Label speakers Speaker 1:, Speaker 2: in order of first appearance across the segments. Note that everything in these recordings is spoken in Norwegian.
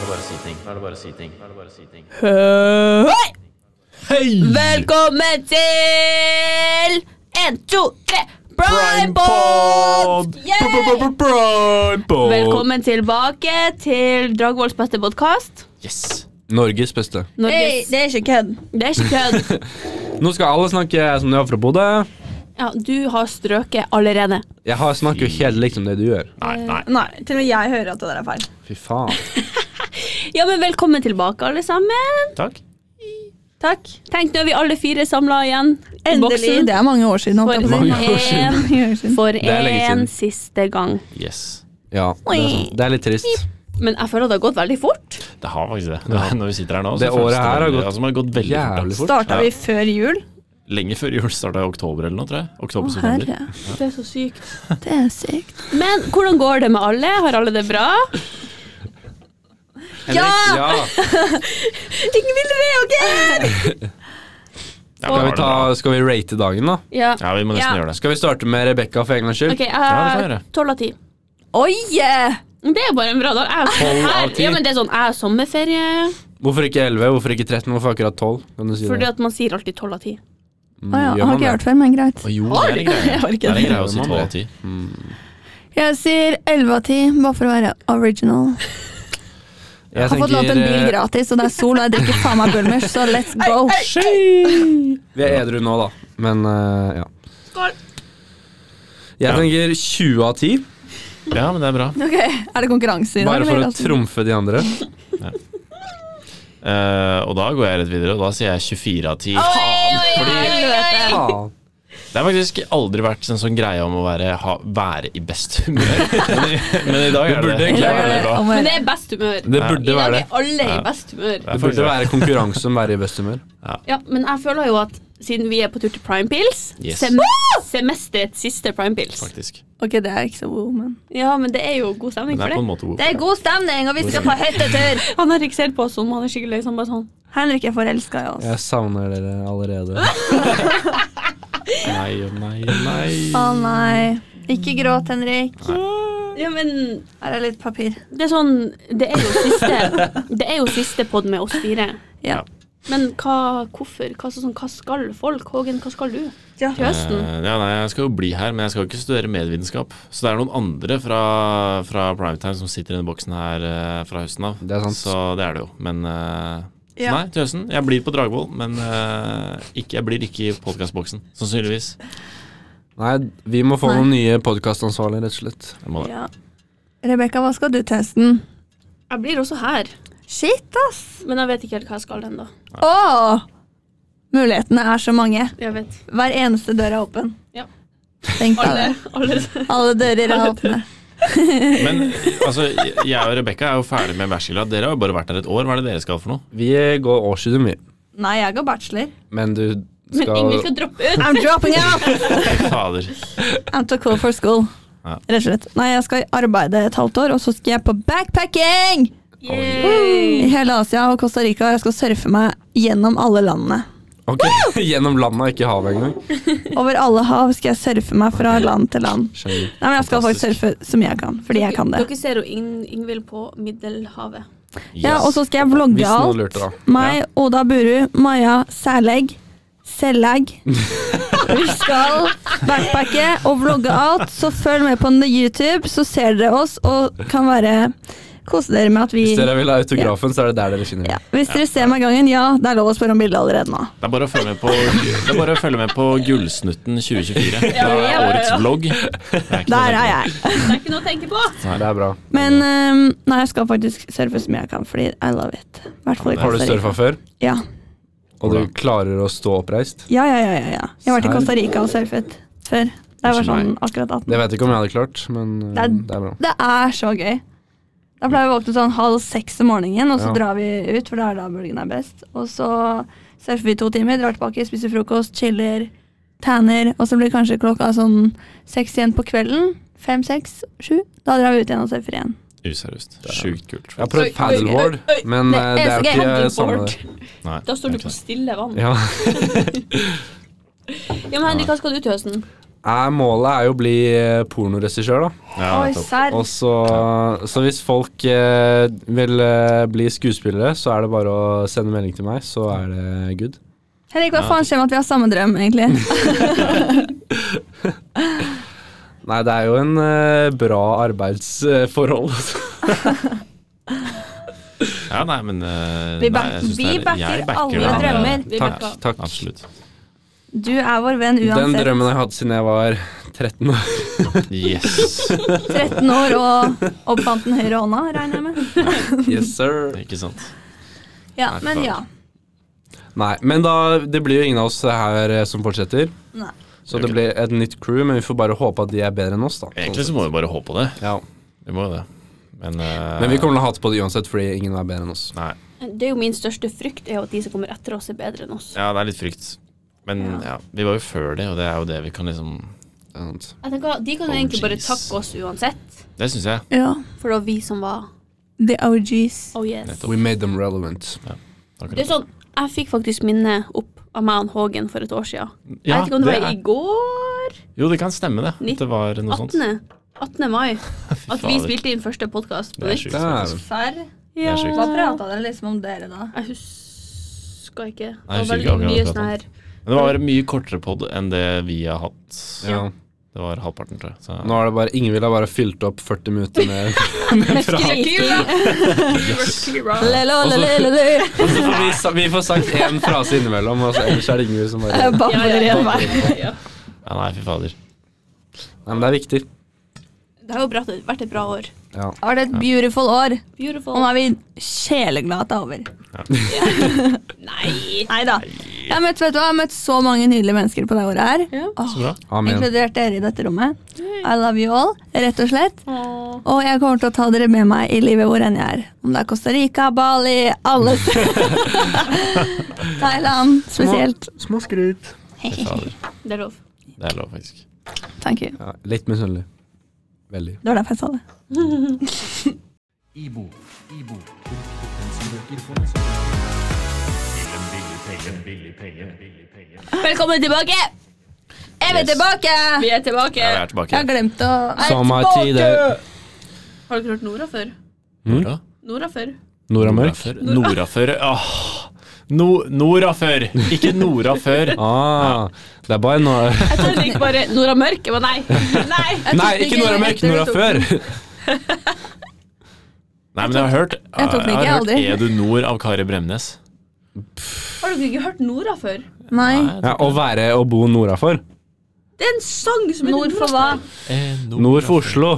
Speaker 1: Nå er det bare å si ting. Nå er det bare å si ting.
Speaker 2: Hei!
Speaker 3: Hei!
Speaker 2: Velkommen til En, to, tre, Primepod! Yeah!
Speaker 3: Primepod!
Speaker 2: Velkommen tilbake til Dragvolls beste podkast.
Speaker 3: Yes. Norges beste.
Speaker 4: Hey,
Speaker 2: Norges
Speaker 4: det er ikke kødd.
Speaker 2: Det er ikke kødd.
Speaker 3: Nå skal alle snakke som de er fra Bodø.
Speaker 2: Ja, du har strøket allerede.
Speaker 3: Jeg har snakker jo helt likt som det du gjør.
Speaker 1: Nei, nei.
Speaker 4: Nei, til og med jeg hører at det der er feil.
Speaker 3: Fy faen.
Speaker 2: Ja, men velkommen tilbake, alle sammen.
Speaker 1: Takk.
Speaker 4: Takk.
Speaker 2: Tenk, nå er vi alle fire samla igjen. i
Speaker 4: Endelig.
Speaker 2: boksen.
Speaker 4: Det er mange år siden. holdt jeg på å si.
Speaker 3: Mange år siden.
Speaker 2: en,
Speaker 4: Mange år siden.
Speaker 2: for
Speaker 3: Det er lenge
Speaker 2: en
Speaker 3: siden.
Speaker 2: siste gang.
Speaker 1: Yes.
Speaker 3: Ja, det er, sant. det er litt trist.
Speaker 2: Men jeg føler det har gått veldig fort.
Speaker 1: Det har faktisk det. Nå- Når vi sitter her nå,
Speaker 3: Det
Speaker 1: føles
Speaker 3: året her har
Speaker 1: veldig-
Speaker 3: gått
Speaker 1: altså, det har gått veldig fort.
Speaker 3: Jævlig
Speaker 1: da.
Speaker 3: fort.
Speaker 4: Starta vi før jul?
Speaker 1: Lenge før jul starta i oktober eller noe, tror jeg. Oktober, september.
Speaker 4: Herre,
Speaker 2: Det er så sykt.
Speaker 4: det er sykt.
Speaker 2: Men hvordan går det med alle? Har alle det bra?
Speaker 3: Henrik, ja!
Speaker 4: Ingvild reagerer!
Speaker 1: Ja,
Speaker 3: Skal,
Speaker 1: har
Speaker 3: vi
Speaker 1: det
Speaker 3: ta,
Speaker 1: bra.
Speaker 3: skal vi rate dagen, da?
Speaker 2: Ja.
Speaker 1: ja, vi må nesten
Speaker 2: Ja.
Speaker 1: gjøre det.
Speaker 3: Skal vi starte med Rebekka for en gangs skyld?
Speaker 2: Ok, jeg
Speaker 1: Ja, det får
Speaker 2: har
Speaker 1: jeg.
Speaker 2: tolv av ti.
Speaker 4: Oi! eh,
Speaker 2: Det er bare en bra dag. Jeg,
Speaker 3: 12 av
Speaker 2: her,
Speaker 3: 10.
Speaker 2: ja, men det er sånn, jeg har sommerferie,
Speaker 3: Hvorfor ikke 11? Hvorfor ikke 13? Hvorfor akkurat 12? Kan du si
Speaker 2: fordi
Speaker 3: det?
Speaker 2: at man sier alltid tolv av ti.
Speaker 3: Mm,
Speaker 4: Å ja,
Speaker 3: gjør
Speaker 4: jeg har
Speaker 3: man
Speaker 4: ikke
Speaker 3: det?
Speaker 4: hørt før, men greit.
Speaker 1: Å, jo, det er en greie.
Speaker 4: Jeg
Speaker 1: Det
Speaker 4: orker
Speaker 1: er en
Speaker 4: ikke.
Speaker 1: greie å si
Speaker 3: Man
Speaker 1: 12 av
Speaker 3: vet.
Speaker 1: 10.
Speaker 4: Jeg sier 11 av 10, bare for å være original.
Speaker 3: Jeg
Speaker 4: Jeg har fått lånt en bil
Speaker 3: tenker,
Speaker 4: gratis, og det er sol, og jeg drikker faen meg Bulmers, så let's go.
Speaker 3: eh, Vi er edru nå, da. Men eh, ja.
Speaker 2: Skål!
Speaker 3: Jeg
Speaker 1: Ja.
Speaker 3: tenker 20 av 10,
Speaker 1: Ja, men det er bra.
Speaker 4: Ok, Er det konkurranse i dag?
Speaker 3: bare for
Speaker 4: eller?
Speaker 3: å trumfe de andre.
Speaker 1: Eh, og da går jeg rett videre, og da sier jeg 24 av 10.
Speaker 4: Helvete.
Speaker 3: Faen.
Speaker 1: Det har faktisk aldri vært en sånn greie om å være, ha, være i best humør. men, i- men i dag er
Speaker 3: Det
Speaker 1: det
Speaker 3: burde egentlig
Speaker 1: Ja,
Speaker 3: være
Speaker 1: det. er bra.
Speaker 4: Om å
Speaker 2: Men
Speaker 4: gjøre.
Speaker 2: det er best humør.
Speaker 3: Det
Speaker 1: Ja.
Speaker 2: I
Speaker 3: burde
Speaker 2: dag
Speaker 3: være det.
Speaker 2: er alle i
Speaker 1: Ja.
Speaker 2: best humør.
Speaker 3: Det burde være konkurranse om å være i best humør.
Speaker 2: Ja, men jeg føler jo at siden vi er på tur til Prime Pills,
Speaker 1: Yes.
Speaker 2: sem semesterets siste Prime Pills.
Speaker 1: Faktisk.
Speaker 4: Ok, det er ikke så god, men
Speaker 2: Ja, men det er jo god
Speaker 1: Men
Speaker 2: stemning
Speaker 1: det
Speaker 2: for
Speaker 1: er på en
Speaker 2: det.
Speaker 1: måte god.
Speaker 4: Det er god stemning, og vi skal på hyttetur!
Speaker 2: Han har ikke sett på oss sånn, han er skikkelig liksom bare sånn.
Speaker 4: Henrik er forelska i oss.
Speaker 3: Jeg savner dere allerede.
Speaker 1: Nei og nei og nei.
Speaker 4: Å nei. Ikke gråt, Henrik.
Speaker 2: Ja, men
Speaker 4: Her er litt papir.
Speaker 2: det er sånn, det er jo siste, det er jo siste podd med oss fire.
Speaker 4: Ja.
Speaker 2: Men hva, hvorfor? Hva, sånn, hva skal folk? Hågen, hva skal du
Speaker 4: Ja.
Speaker 2: til høsten?
Speaker 1: Eh, Ja, nei, jeg skal jo bli her, men jeg skal jo ikke studere medvitenskap. Så det er noen andre fra, fra primetime som sitter i denne boksen her eh, fra høsten av.
Speaker 3: Det er sant.
Speaker 1: Så det er det jo. Men eh, så
Speaker 4: Ja.
Speaker 1: nei, til høsten. Jeg blir på Dragvoll, men eh, ikke, jeg blir ikke i podkastboksen. Sannsynligvis.
Speaker 3: Nei, vi må få noen nye podkastansvarlige, rett og slett.
Speaker 1: Jeg må det.
Speaker 4: ja. Rebekka, hva skal du til høsten?
Speaker 2: Jeg blir også her,
Speaker 4: Shit, ass!
Speaker 2: men jeg vet ikke helt hva jeg skal ennå.
Speaker 4: Åh! Mulighetene er så mange.
Speaker 2: Jeg vet.
Speaker 4: Hver eneste dør er åpen.
Speaker 2: Ja.
Speaker 4: Tenk deg det.
Speaker 2: Alle, alle.
Speaker 4: Alle dører er åpne.
Speaker 1: Men altså, jeg og Rebekka er jo ferdig med bachelor. Dere har jo bare vært her et år. Hva er det dere skal for noe?
Speaker 3: Vi går årsstudium, vi.
Speaker 4: Nei, jeg går bachelor.
Speaker 3: Men du
Speaker 2: Men Ingvild
Speaker 3: skal
Speaker 2: skal droppe ut.
Speaker 4: I'm dropping out!
Speaker 1: Fader.
Speaker 4: I'm too cool for school.
Speaker 1: Ja.
Speaker 4: Rett og slett. Nei, jeg skal arbeide et halvt år, og så skal jeg på backpacking! I
Speaker 2: Yay.
Speaker 4: hele Asia og Costa Rica. Jeg skal surfe meg gjennom alle landene.
Speaker 3: Ok, gjennom landet, ikke havet engang.
Speaker 4: Over alle hav skal jeg surfe meg fra land til land.
Speaker 3: Skjønner.
Speaker 4: Nei, men Jeg skal faktisk
Speaker 1: Fantastisk.
Speaker 4: surfe som jeg kan, fordi jeg kan det.
Speaker 2: Dere ser jo Ing Ingvild på Middelhavet.
Speaker 4: Ja, Og
Speaker 1: Yes.
Speaker 4: så skal jeg vlogge
Speaker 3: Hvis noen
Speaker 4: alt.
Speaker 3: lurte, da.
Speaker 4: Meg, Oda Buru, Maja Sælegg, Sellegg. Vi skal backpacke og vlogge alt, så følg med på YouTube, så ser dere oss og kan være Kose dere med at vi
Speaker 3: Hvis dere vil ha autografen, så er det der dere finner
Speaker 4: ja.
Speaker 3: den.
Speaker 4: Hvis dere ser meg i gangen, ja, det er lov å spørre om bilde allerede nå.
Speaker 1: Det er bare å følge med på, det er bare å følge med på Gullsnutten 2024. Det
Speaker 2: Ja, ja,
Speaker 1: er
Speaker 2: ja, ja.
Speaker 1: årets vlogg. Det er ikke noe
Speaker 4: Der er
Speaker 1: helt-
Speaker 4: jeg.
Speaker 2: Det er ikke noe å tenke på.
Speaker 3: Det er bra.
Speaker 4: Men ehm, nei, jeg skal faktisk surfe som jeg kan, fordi I love it. I hvert fall i
Speaker 3: Har du
Speaker 4: Costa Rica.
Speaker 3: surfa før,
Speaker 4: Ja.
Speaker 3: og du klarer å stå oppreist?
Speaker 4: Ja, ja, ja, ja, ja. Jeg har vært i
Speaker 3: Serr?
Speaker 4: Costa Rica og surfet før. Da jeg var
Speaker 1: Unnskyld
Speaker 4: sånn akkurat 18.
Speaker 3: Det vet jeg ikke om jeg hadde klart, men eh,
Speaker 4: Det er-
Speaker 3: det er bra.
Speaker 4: Det er så gøy. Da pleier vi å våkne sånn halv seks om morgenen, og så
Speaker 3: Ja.
Speaker 4: drar vi ut, for da er da bølgen er best. Og så surfer vi to timer, drar tilbake, spiser frokost, chiller, tanner, og så blir det kanskje klokka sånn seks igjen på kvelden. Fem, seks, sju. Da drar vi ut igjen og surfer igjen.
Speaker 1: Useriøst. Sjukt kult.
Speaker 3: Jeg har
Speaker 2: Oi,
Speaker 3: prøvd
Speaker 2: oi,
Speaker 3: paddleboard,
Speaker 2: oi, oi.
Speaker 3: men
Speaker 4: Det
Speaker 3: eh, det
Speaker 4: er
Speaker 3: er
Speaker 4: så
Speaker 3: jo
Speaker 4: gøy,
Speaker 3: ikke samme
Speaker 2: Paddleboard.
Speaker 3: det.
Speaker 1: Nei,
Speaker 2: Da står du
Speaker 1: egentlig.
Speaker 2: på stille vann.
Speaker 3: Ja.
Speaker 2: Ja, men Henrik, hva skal du til høsten?
Speaker 3: er, målet er jo å bli eh, pornoregissør, da.
Speaker 1: Ja,
Speaker 4: Oi,
Speaker 1: nettopp.
Speaker 4: serr.
Speaker 3: Og så, så hvis folk eh, vil eh, bli skuespillere, så er det bare å sende melding til meg, så er det good.
Speaker 4: Henrik, hva faen skjer med at vi har samme drøm, egentlig?
Speaker 3: Nei, det er jo en eh, bra arbeidsforhold.
Speaker 1: ja, nei, men eh, nei,
Speaker 4: Vi back-
Speaker 1: jeg synes
Speaker 4: vi
Speaker 1: det er-
Speaker 4: backer
Speaker 1: jeg
Speaker 4: alle
Speaker 1: den, eh,
Speaker 4: drømmer.
Speaker 2: Vi
Speaker 3: Takk,
Speaker 2: backer.
Speaker 3: takk.
Speaker 1: Absolutt.
Speaker 4: Du er vår venn
Speaker 3: Den
Speaker 4: uansett.
Speaker 3: drømmen har jeg hatt siden jeg var 13 år.
Speaker 1: Yes.
Speaker 4: 13 år og oppfant den høyre hånda, regner jeg med.
Speaker 3: Yes, sir.
Speaker 1: Ikke sant.
Speaker 4: Ja,
Speaker 1: Nei,
Speaker 4: men
Speaker 1: faen.
Speaker 4: ja.
Speaker 3: Nei, men da, det blir jo ingen av oss her eh, som fortsetter.
Speaker 4: Nei.
Speaker 3: Så det blir et nytt crew, men vi får bare håpe at de er bedre enn oss, da.
Speaker 1: Egentlig så må vi bare håpe på det.
Speaker 3: Ja.
Speaker 1: Vi må jo det. Men, eh,
Speaker 3: Men vi kommer til å hate på det uansett, fordi ingen er bedre enn oss.
Speaker 1: Nei.
Speaker 2: Det er jo min største frykt, er jo at de som kommer etter oss, er bedre enn oss.
Speaker 1: Ja, det er litt frykt. Men ja, vi var jo før det, og det er jo det vi kan liksom
Speaker 3: Det er sant.
Speaker 2: Jeg tenker, De kan
Speaker 1: Oh,
Speaker 2: jo egentlig bare
Speaker 1: jeez.
Speaker 2: takke oss uansett,
Speaker 1: Det syns jeg.
Speaker 4: Ja.
Speaker 2: for det var vi som var
Speaker 4: The OGs.
Speaker 2: Oh yes.
Speaker 1: Nettopp.
Speaker 3: We made them relevant.
Speaker 2: Det er sånn, Jeg fikk faktisk minne opp av meg og Hågen for et år siden. jeg
Speaker 1: Ja,
Speaker 2: vet ikke om det,
Speaker 1: det
Speaker 2: var
Speaker 1: er-
Speaker 2: i går?
Speaker 1: Jo, det kan stemme, det. At
Speaker 2: Nitt-
Speaker 1: det var noe sånt.
Speaker 2: 18. 18. mai.
Speaker 1: Fy
Speaker 2: At vi
Speaker 1: fader.
Speaker 2: spilte inn første podkast på
Speaker 1: Det er
Speaker 2: nytt.
Speaker 1: sjukt. faktisk.
Speaker 4: Serr?
Speaker 1: er sjukt.
Speaker 4: Hva prata dere liksom om dere, da?
Speaker 2: Jeg husker ikke.
Speaker 1: Nei, jeg
Speaker 2: Det var
Speaker 1: husker ikke
Speaker 2: veldig
Speaker 1: akkurat hva
Speaker 2: mye
Speaker 1: det
Speaker 2: sånn
Speaker 1: var.
Speaker 2: her
Speaker 1: Men det var mye kortere pod enn det vi har hatt.
Speaker 3: Ja.
Speaker 1: Det var halvparten, tror jeg. Så,
Speaker 3: Nå er det bare, Ingvild har bare fylt opp 40 minutter med
Speaker 2: Skriking.
Speaker 1: yes.
Speaker 4: Lelo,
Speaker 3: Og så-
Speaker 4: lelo, lelo.
Speaker 3: Og så får vi, sa- vi får sagt én frase innimellom, og så ellers er det Ingvild som bare
Speaker 4: Jeg
Speaker 3: Nei,
Speaker 4: babler igjen, hva?
Speaker 2: Ja.
Speaker 1: ja, nei, fy fader.
Speaker 3: men det er viktig.
Speaker 2: Det har jo bra- vært et bra år.
Speaker 3: Ja.
Speaker 4: Har det et beautiful år? Og
Speaker 2: Beautiful.
Speaker 4: nå er vi sjeleglade at det er over.
Speaker 2: Nei!
Speaker 4: Nei da. Jeg har møtt, vet du hva, jeg har møtt så mange nydelige mennesker på det året her.
Speaker 2: Ja.
Speaker 4: Åh,
Speaker 1: Så bra.
Speaker 3: Amen.
Speaker 4: inkludert dere i dette rommet. I love you all, rett og slett.
Speaker 2: Åh.
Speaker 4: Og jeg kommer til å ta dere med meg i livet hvor enn jeg er. Om det er Costa Rica, Bali, alle steder. Thailand spesielt.
Speaker 3: Små skryt.
Speaker 1: Fy fader.
Speaker 2: Det er lov.
Speaker 1: Det er lov, faktisk.
Speaker 4: Thank you.
Speaker 3: Ja, litt misunnelig. Veldig.
Speaker 4: Det var derfor jeg sa det.
Speaker 5: Ibo. Ibo. Kompetansebrøker for deg selv.
Speaker 2: Velkommen tilbake!
Speaker 4: Jeg vil
Speaker 1: Yes.
Speaker 4: tilbake!
Speaker 2: Vi er tilbake.
Speaker 1: Ja, vi er
Speaker 4: Jeg
Speaker 1: tilbake.
Speaker 4: har glemt å
Speaker 3: Samme tid eh, er
Speaker 2: Har dere hørt Nora før?
Speaker 1: Nora?
Speaker 2: Nora før?
Speaker 3: Nora Mørk.
Speaker 1: Norafør. Norafør. Åh. No, Norafør! Ikke Norafør.
Speaker 3: Ah, det er bare Nora
Speaker 2: Jeg trodde ikke bare Nora Mørk. Jeg bare nei. Nei!
Speaker 3: Nei, ikke Nora Mørk, Nora Før!
Speaker 1: Nei, men jeg har hørt
Speaker 4: Jeg tok den
Speaker 1: jeg
Speaker 4: ikke,
Speaker 1: har hørt
Speaker 4: aldri.
Speaker 1: Er du nord av Kari Bremnes?
Speaker 2: Har dere ikke hørt Nora før?
Speaker 4: Nei.
Speaker 1: Nei, jeg
Speaker 3: Ja,
Speaker 1: tror
Speaker 3: Å være og bo nordafor.
Speaker 2: Det er en sang som heter
Speaker 4: Nord for hva?
Speaker 1: ikke. Eh,
Speaker 3: Nord for Oslo.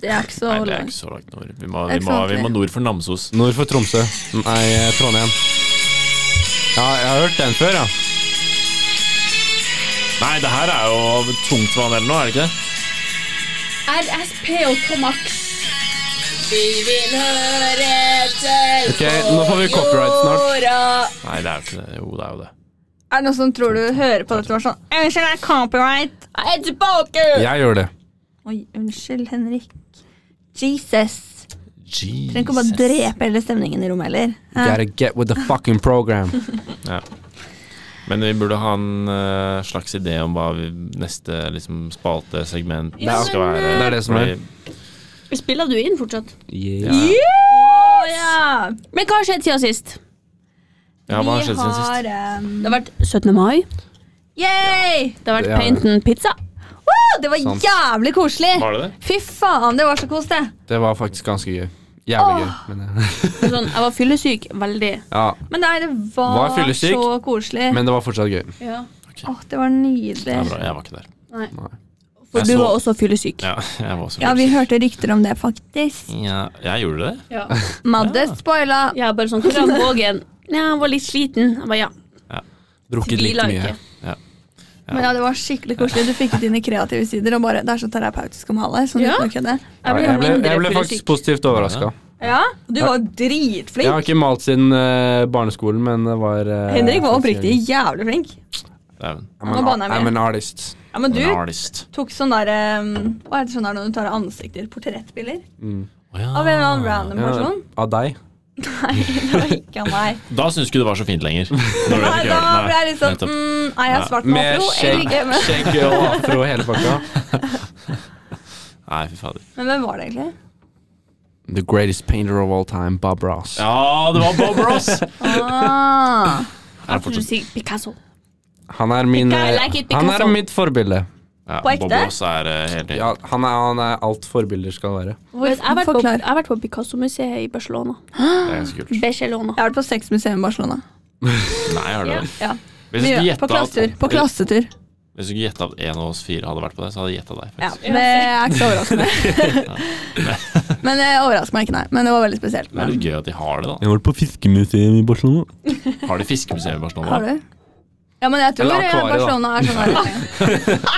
Speaker 4: Det er ikke så
Speaker 1: Nei, det er ikke så langt nord. Vi må,
Speaker 4: Det er
Speaker 1: vi
Speaker 4: ikke
Speaker 1: må,
Speaker 4: så
Speaker 1: vi
Speaker 4: ordentlig.
Speaker 1: må nord for Namsos.
Speaker 3: Nord for Tromsø. Nei, eh, Trondheim. Ja, jeg har hørt den før, ja.
Speaker 1: Nei, det her er jo tungtvann eller noe, er det ikke det?
Speaker 2: RSP og Tomax. Vi vil høre etter
Speaker 3: Ok, nå får vi copyright snart.
Speaker 1: Nei, det er jo ikke det. Jo, det er jo det.
Speaker 4: Er det noen som tror du hører på dette og er sånn Unnskyld, det er copyright.
Speaker 2: Jeg er tilbake!
Speaker 3: Jeg gjør det.
Speaker 4: Oi, unnskyld, Henrik. Jesus.
Speaker 1: Jesus.
Speaker 4: Trenger ikke å bare drepe hele stemningen i rommet heller. Hæ?
Speaker 3: Gotta get with the fucking program.
Speaker 1: Ja. Men vi burde ha en eh, slags idé om hva vi, neste liksom, spalte, segment
Speaker 2: Det er-
Speaker 1: skal være.
Speaker 3: Det er det som er.
Speaker 1: Fordi-
Speaker 2: Spiller du inn fortsatt?
Speaker 3: Yeah.
Speaker 1: Ja, ja.
Speaker 4: Å, ja.
Speaker 2: Men hva har skjedd siden sist?
Speaker 1: ja, hva har skjedd siden
Speaker 4: Vi
Speaker 1: sist?
Speaker 4: har um,
Speaker 2: Det har vært 17. mai.
Speaker 4: Yay!
Speaker 2: Det har vært
Speaker 3: Det har
Speaker 2: Paint and Pizza.
Speaker 4: Woo, det var
Speaker 3: Sant.
Speaker 4: jævlig koselig!
Speaker 1: Var det det?
Speaker 4: Fy faen, det var så kos, det.
Speaker 3: Det var faktisk ganske gøy. Jævlig gøy. Men, eh,
Speaker 2: Sånn, jeg var fyllesyk. Veldig.
Speaker 3: ja.
Speaker 4: Men nei, det var,
Speaker 3: Var fyllesyk,
Speaker 4: så koselig.
Speaker 3: men det var fortsatt gøy.
Speaker 2: Ja.
Speaker 4: Åh, det var
Speaker 1: Det er
Speaker 4: nydelig.
Speaker 1: bra, jeg var ikke der.
Speaker 2: Nei.
Speaker 3: Nei.
Speaker 2: For
Speaker 1: Jeg
Speaker 2: du
Speaker 1: så-
Speaker 2: var også fyllesyk.
Speaker 1: Ja, jeg var også
Speaker 4: Ja, vi
Speaker 1: fyllesyk. Mm.
Speaker 4: hørte rykter om det, faktisk.
Speaker 1: Ja, jeg gjorde det.
Speaker 2: Ja.
Speaker 4: Madde spoila.
Speaker 2: Jeg er bare sånn Hvordan vågen? Ja, han var litt sliten. Jeg bare ja.
Speaker 3: Drukket litt
Speaker 2: Tviler
Speaker 3: mye.
Speaker 2: ikke.
Speaker 4: Men ja, det var skikkelig koselig. Du fikk ut dine kreative sider. Og bare, det er så terapeutisk å male. Sånn
Speaker 2: Ja.
Speaker 4: uten å kødde.
Speaker 3: Ja, jeg, ble, jeg ble faktisk positivt overraska.
Speaker 4: Ja, du var
Speaker 3: Jeg har
Speaker 4: dritflink.
Speaker 3: ikke malt siden eh, barneskolen, men det var eh,
Speaker 4: Henrik var
Speaker 3: ganske
Speaker 4: oppriktig
Speaker 3: gøy.
Speaker 4: jævlig flink.
Speaker 1: Dæven.
Speaker 3: I'm
Speaker 4: Han
Speaker 3: an,
Speaker 4: var banen
Speaker 3: I'm
Speaker 4: med.
Speaker 3: an artist.
Speaker 4: Ja, men du
Speaker 1: En artist.
Speaker 4: tok sånn der um, Hva heter sånn der når du tar av ansikter? Portrettbilder?
Speaker 1: Å ja.
Speaker 4: Av en eller annen random
Speaker 3: Ja,
Speaker 4: person?
Speaker 3: av deg.
Speaker 6: Nei, det var ikke av meg.
Speaker 1: Da syns ikke du det var så fint lenger. Når du
Speaker 6: Nei,
Speaker 1: fikk
Speaker 6: da
Speaker 1: høre det.
Speaker 6: ble jeg litt
Speaker 4: liksom,
Speaker 6: sånn
Speaker 1: nettopp.
Speaker 6: mm, Nei, jeg har svart med
Speaker 3: Med
Speaker 6: afro. eller
Speaker 3: skjegg,
Speaker 6: ikke, men-
Speaker 3: skjegg og afro og hele pakka.
Speaker 1: Nei, fy fader.
Speaker 6: Men hvem var det egentlig?
Speaker 3: The greatest painter of all time, Bob Ross.
Speaker 1: Ja, det var Bob Ross!
Speaker 6: Ah,
Speaker 1: Er det
Speaker 2: Du
Speaker 1: fortsatt-
Speaker 2: sier Picasso.
Speaker 3: Han er min eh,
Speaker 6: Ikke I like it
Speaker 3: Han er
Speaker 6: because of-
Speaker 3: mitt forbilde.
Speaker 1: Ja,
Speaker 6: På ekte?
Speaker 1: Bob Ross er eh, helt ny.
Speaker 3: Ja, han er, han er alt forbilder skal være.
Speaker 2: Jeg har vært på,
Speaker 4: Forklar.
Speaker 2: jeg har vært på Picasso-museet i Barcelona.
Speaker 1: Det er ganske kult.
Speaker 2: Barcelona.
Speaker 4: Jeg har vært på sexmuseum i Barcelona.
Speaker 1: Nei, har du det?
Speaker 6: ja.
Speaker 1: Hvis du skulle
Speaker 4: Mye. På
Speaker 1: gjette at-
Speaker 4: klassetur. På klassetur.
Speaker 1: Hvis du skulle gjette at en av oss fire hadde vært på det, så hadde jeg gjetta deg.
Speaker 6: ja.
Speaker 1: faktisk.
Speaker 4: Det er ikke så overraskende. Men det overrasker meg ikke, nei. Men det var veldig spesielt.
Speaker 1: Det er litt gøy at de har det, da.
Speaker 3: Jeg var på fiskemuseum i Barcelona.
Speaker 1: Har de fiskemuseum i Barcelona?
Speaker 4: Har du? Ja, men jeg tror
Speaker 3: Eller akvariet, da.
Speaker 4: Barcelona er sånn her.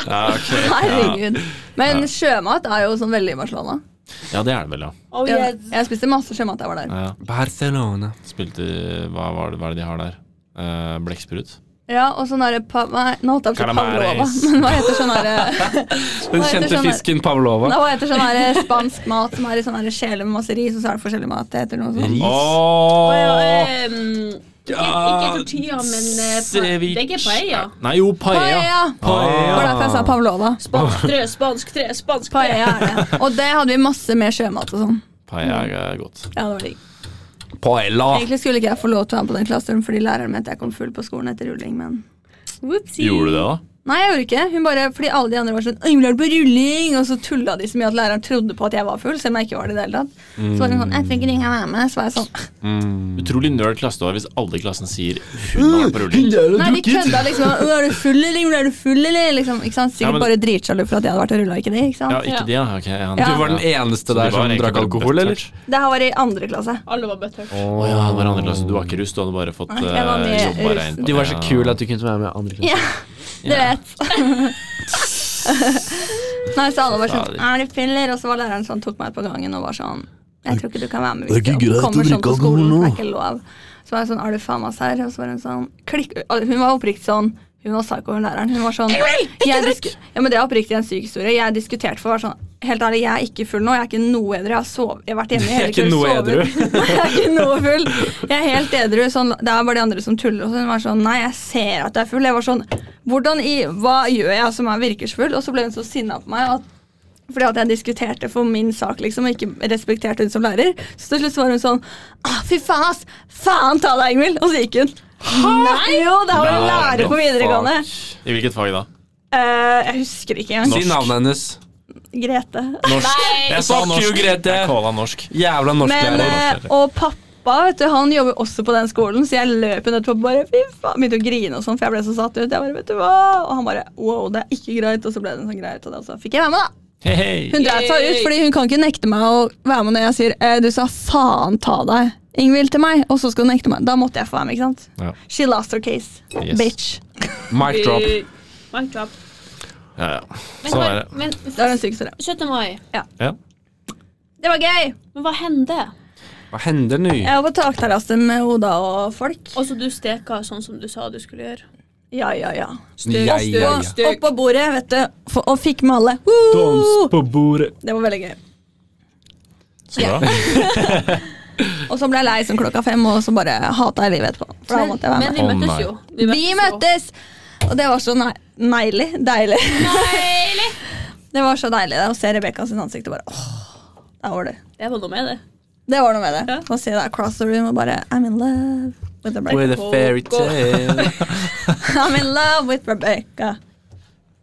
Speaker 1: Ja, ok.
Speaker 4: Herregud.
Speaker 1: Ja.
Speaker 4: Men sjømat er jo sånn veldig i Barcelona.
Speaker 1: ja, det er det vel, ja.
Speaker 6: Oh,
Speaker 4: Jeg,
Speaker 6: yes.
Speaker 4: jeg spiste masse sjømat da jeg var der.
Speaker 1: ja. ja.
Speaker 3: Barcelona.
Speaker 1: Spilte hva, var det, hva er det de har der? Uh, Blekksprut?
Speaker 4: Ja, og sånn derre pa- Nei, nå holdt jeg på å si pavlova,
Speaker 1: Calamares.
Speaker 4: men hva heter sånn derre
Speaker 3: Den
Speaker 4: Hva heter
Speaker 3: kjente
Speaker 4: sånn der-
Speaker 3: fisken Pavlova.
Speaker 4: Hva heter sånn derre spansk mat som er i sånn derre skjele med masse ris, og så er det forskjellig mat? Det heter noe sånn. sånt.
Speaker 3: Ris?
Speaker 2: Og,
Speaker 1: Ååå!
Speaker 2: eh, mm, ikke, ikke
Speaker 1: Ja,
Speaker 2: tortilla, men eh, pa- Det er ikke paella.
Speaker 1: Nei, jo, paella.
Speaker 4: Paella! Det var derfor jeg sa pavlova.
Speaker 2: Spansk tre, spansk tre, spansk tre.
Speaker 4: Paella er det. Og det hadde vi masse med sjømat og sånn.
Speaker 1: Paella er godt.
Speaker 4: Ja, det var digg.
Speaker 3: Paella!
Speaker 1: Ah.
Speaker 4: Egentlig skulle ikke jeg få lov til å være på den klasseturen fordi læreren mente jeg kom full på skolen etter rulling, men
Speaker 2: Whoopsie.
Speaker 1: Gjorde du det, da?
Speaker 4: Nei, jeg gjorde ikke. Hun bare, fordi alle de andre var sånn «Øy, vil du være på rulling? Og så tulla de så mye at læreren trodde på at jeg var full, selv om jeg ikke var det i det hele tatt. Så var hun sånn Jeg tror ikke du kan være med. Så var jeg sånn
Speaker 3: Mm.
Speaker 1: Utrolig nerd klasse du har hvis alle i klassen sier
Speaker 3: Uh,
Speaker 1: hun har vært på rulling.
Speaker 4: Nei, de kødda liksom. «Øy, Er du full, eller? Hvor Er du full, eller? Liksom, ikke sant? Sikkert
Speaker 1: Ja, men-
Speaker 4: bare dritsjalu for at jeg hadde vært og rulla, ikke de? Ikke sant?
Speaker 1: Ja, ikke det, ja. Ok, ja.
Speaker 4: Ja.
Speaker 3: Du var den eneste der som drakk alkohol, eller?
Speaker 4: Det her var i andre klasse.
Speaker 2: Alle var butthurt.
Speaker 3: Å
Speaker 1: Å ja, det var andre klasse. Du var ikke russ, du hadde bare fått eh,
Speaker 4: Nei, jeg var med
Speaker 1: jobba
Speaker 4: russen.
Speaker 1: reint.
Speaker 3: De var så kule at du kunne være med i andre klasse.
Speaker 4: Ja, du vet. Nei, så alle var sånn
Speaker 1: Fader.
Speaker 4: Er du full, eller? Og så var læreren sånn, tok meg på gangen og var sånn Jeg tror ikke du kan være med hvis du kommer sånn på skolen. Det er ikke lov. Så var jeg sånn Er du faen meg serr? Og så var hun sånn klikk Hun var oppriktig sånn hun var psycho, hun læreren. Hun var sånn jeg disku- ja, men Det er oppriktig en syk historie. Jeg diskuterte for å være sånn Helt ærlig, jeg er ikke full nå. Jeg er ikke noe edru. Jeg har, sovet, jeg har vært hjemme i hele
Speaker 3: Jeg er ikke
Speaker 4: kveld,
Speaker 3: noe
Speaker 4: sovet. Nei, jeg er ikke noe full. Jeg er helt edru. Sånn, det er bare de andre som tuller. Og så hun var sånn Nei, jeg ser at jeg er full. Jeg var sånn Hvordan i Hva gjør jeg som er virkersfull? Og så ble hun så sinna på meg at fordi at jeg diskuterte for min sak liksom, og ikke respekterte hun som lærer. Så til slutt så var hun sånn ah, Fy faen, ass! Faen ta deg, Ingvild! Og så gikk hun. Nei! Jo, det var en
Speaker 1: Nei,
Speaker 4: lærer på videregående.
Speaker 1: I hvilket fag da?
Speaker 4: Eh, jeg husker ikke engang.
Speaker 3: Si navnet hennes.
Speaker 4: Grete.
Speaker 1: Norsk. Jeg sa
Speaker 3: Fuck you,
Speaker 1: norsk.
Speaker 3: Grete.
Speaker 1: Jeg calla norsk.
Speaker 3: Jævla
Speaker 4: Men,
Speaker 3: norsklærer.
Speaker 4: eh, og pappa vet du, han jobber også på den skolen, så jeg løp jo nettopp og bare fy faen, begynte å grine og sånn, for jeg ble så satt ut. Jeg bare, vet du hva? Og han bare wow, det er ikke greit. Og så ble det en sånn greit, og det, og så fikk jeg være med, da.
Speaker 1: Hei, hei.
Speaker 4: Hun dreit seg ut, fordi hun kan ikke nekte meg å være med når jeg sier eh, du sa faen ta deg, Ingvild, til meg, og så skal du nekte meg. Da måtte jeg få være med, ikke sant?
Speaker 1: Ja.
Speaker 4: She lost her case,
Speaker 1: Yes.
Speaker 4: bitch. eh,
Speaker 3: Mic drop.
Speaker 2: Mic drop.
Speaker 1: Ja, ja.
Speaker 2: Men,
Speaker 1: Sånn
Speaker 2: hva-
Speaker 1: er det.
Speaker 2: men
Speaker 4: Det var den sykeste. det.
Speaker 2: 17. mai.
Speaker 1: Ja.
Speaker 4: Det var gøy!
Speaker 2: Men hva hender?
Speaker 3: Hva hender nå?
Speaker 4: Jeg var på takterrasse med Oda og folk.
Speaker 2: Altså, du steka sånn som du sa du skulle gjøre.
Speaker 4: Ja, ja, ja.
Speaker 3: Jeg, jeg, jeg.
Speaker 4: Og opp på bordet, vet du, f- og fikk med alle. Woo!
Speaker 3: på bordet.
Speaker 4: Det var veldig gøy.
Speaker 1: Så bra.
Speaker 4: Og så ble jeg lei sånn klokka fem, og så bare hata jeg livet etterpå. For da
Speaker 2: Men,
Speaker 4: måtte jeg være
Speaker 2: men
Speaker 4: med.
Speaker 2: vi
Speaker 1: Å,
Speaker 2: møttes
Speaker 1: nei.
Speaker 2: jo.
Speaker 4: Vi møttes! Og det var så nei neilig. Deilig.
Speaker 2: Deilig!
Speaker 4: Det var så deilig det, å se Rebekka sitt ansikt og bare åh, der var du.
Speaker 2: Det var noe med det.
Speaker 4: Det var noe med det.
Speaker 2: Ja.
Speaker 4: Å se deg across the room og bare I'm in love with Rebecca.
Speaker 3: With a fairy tale.
Speaker 4: I'm in love with Rebecca.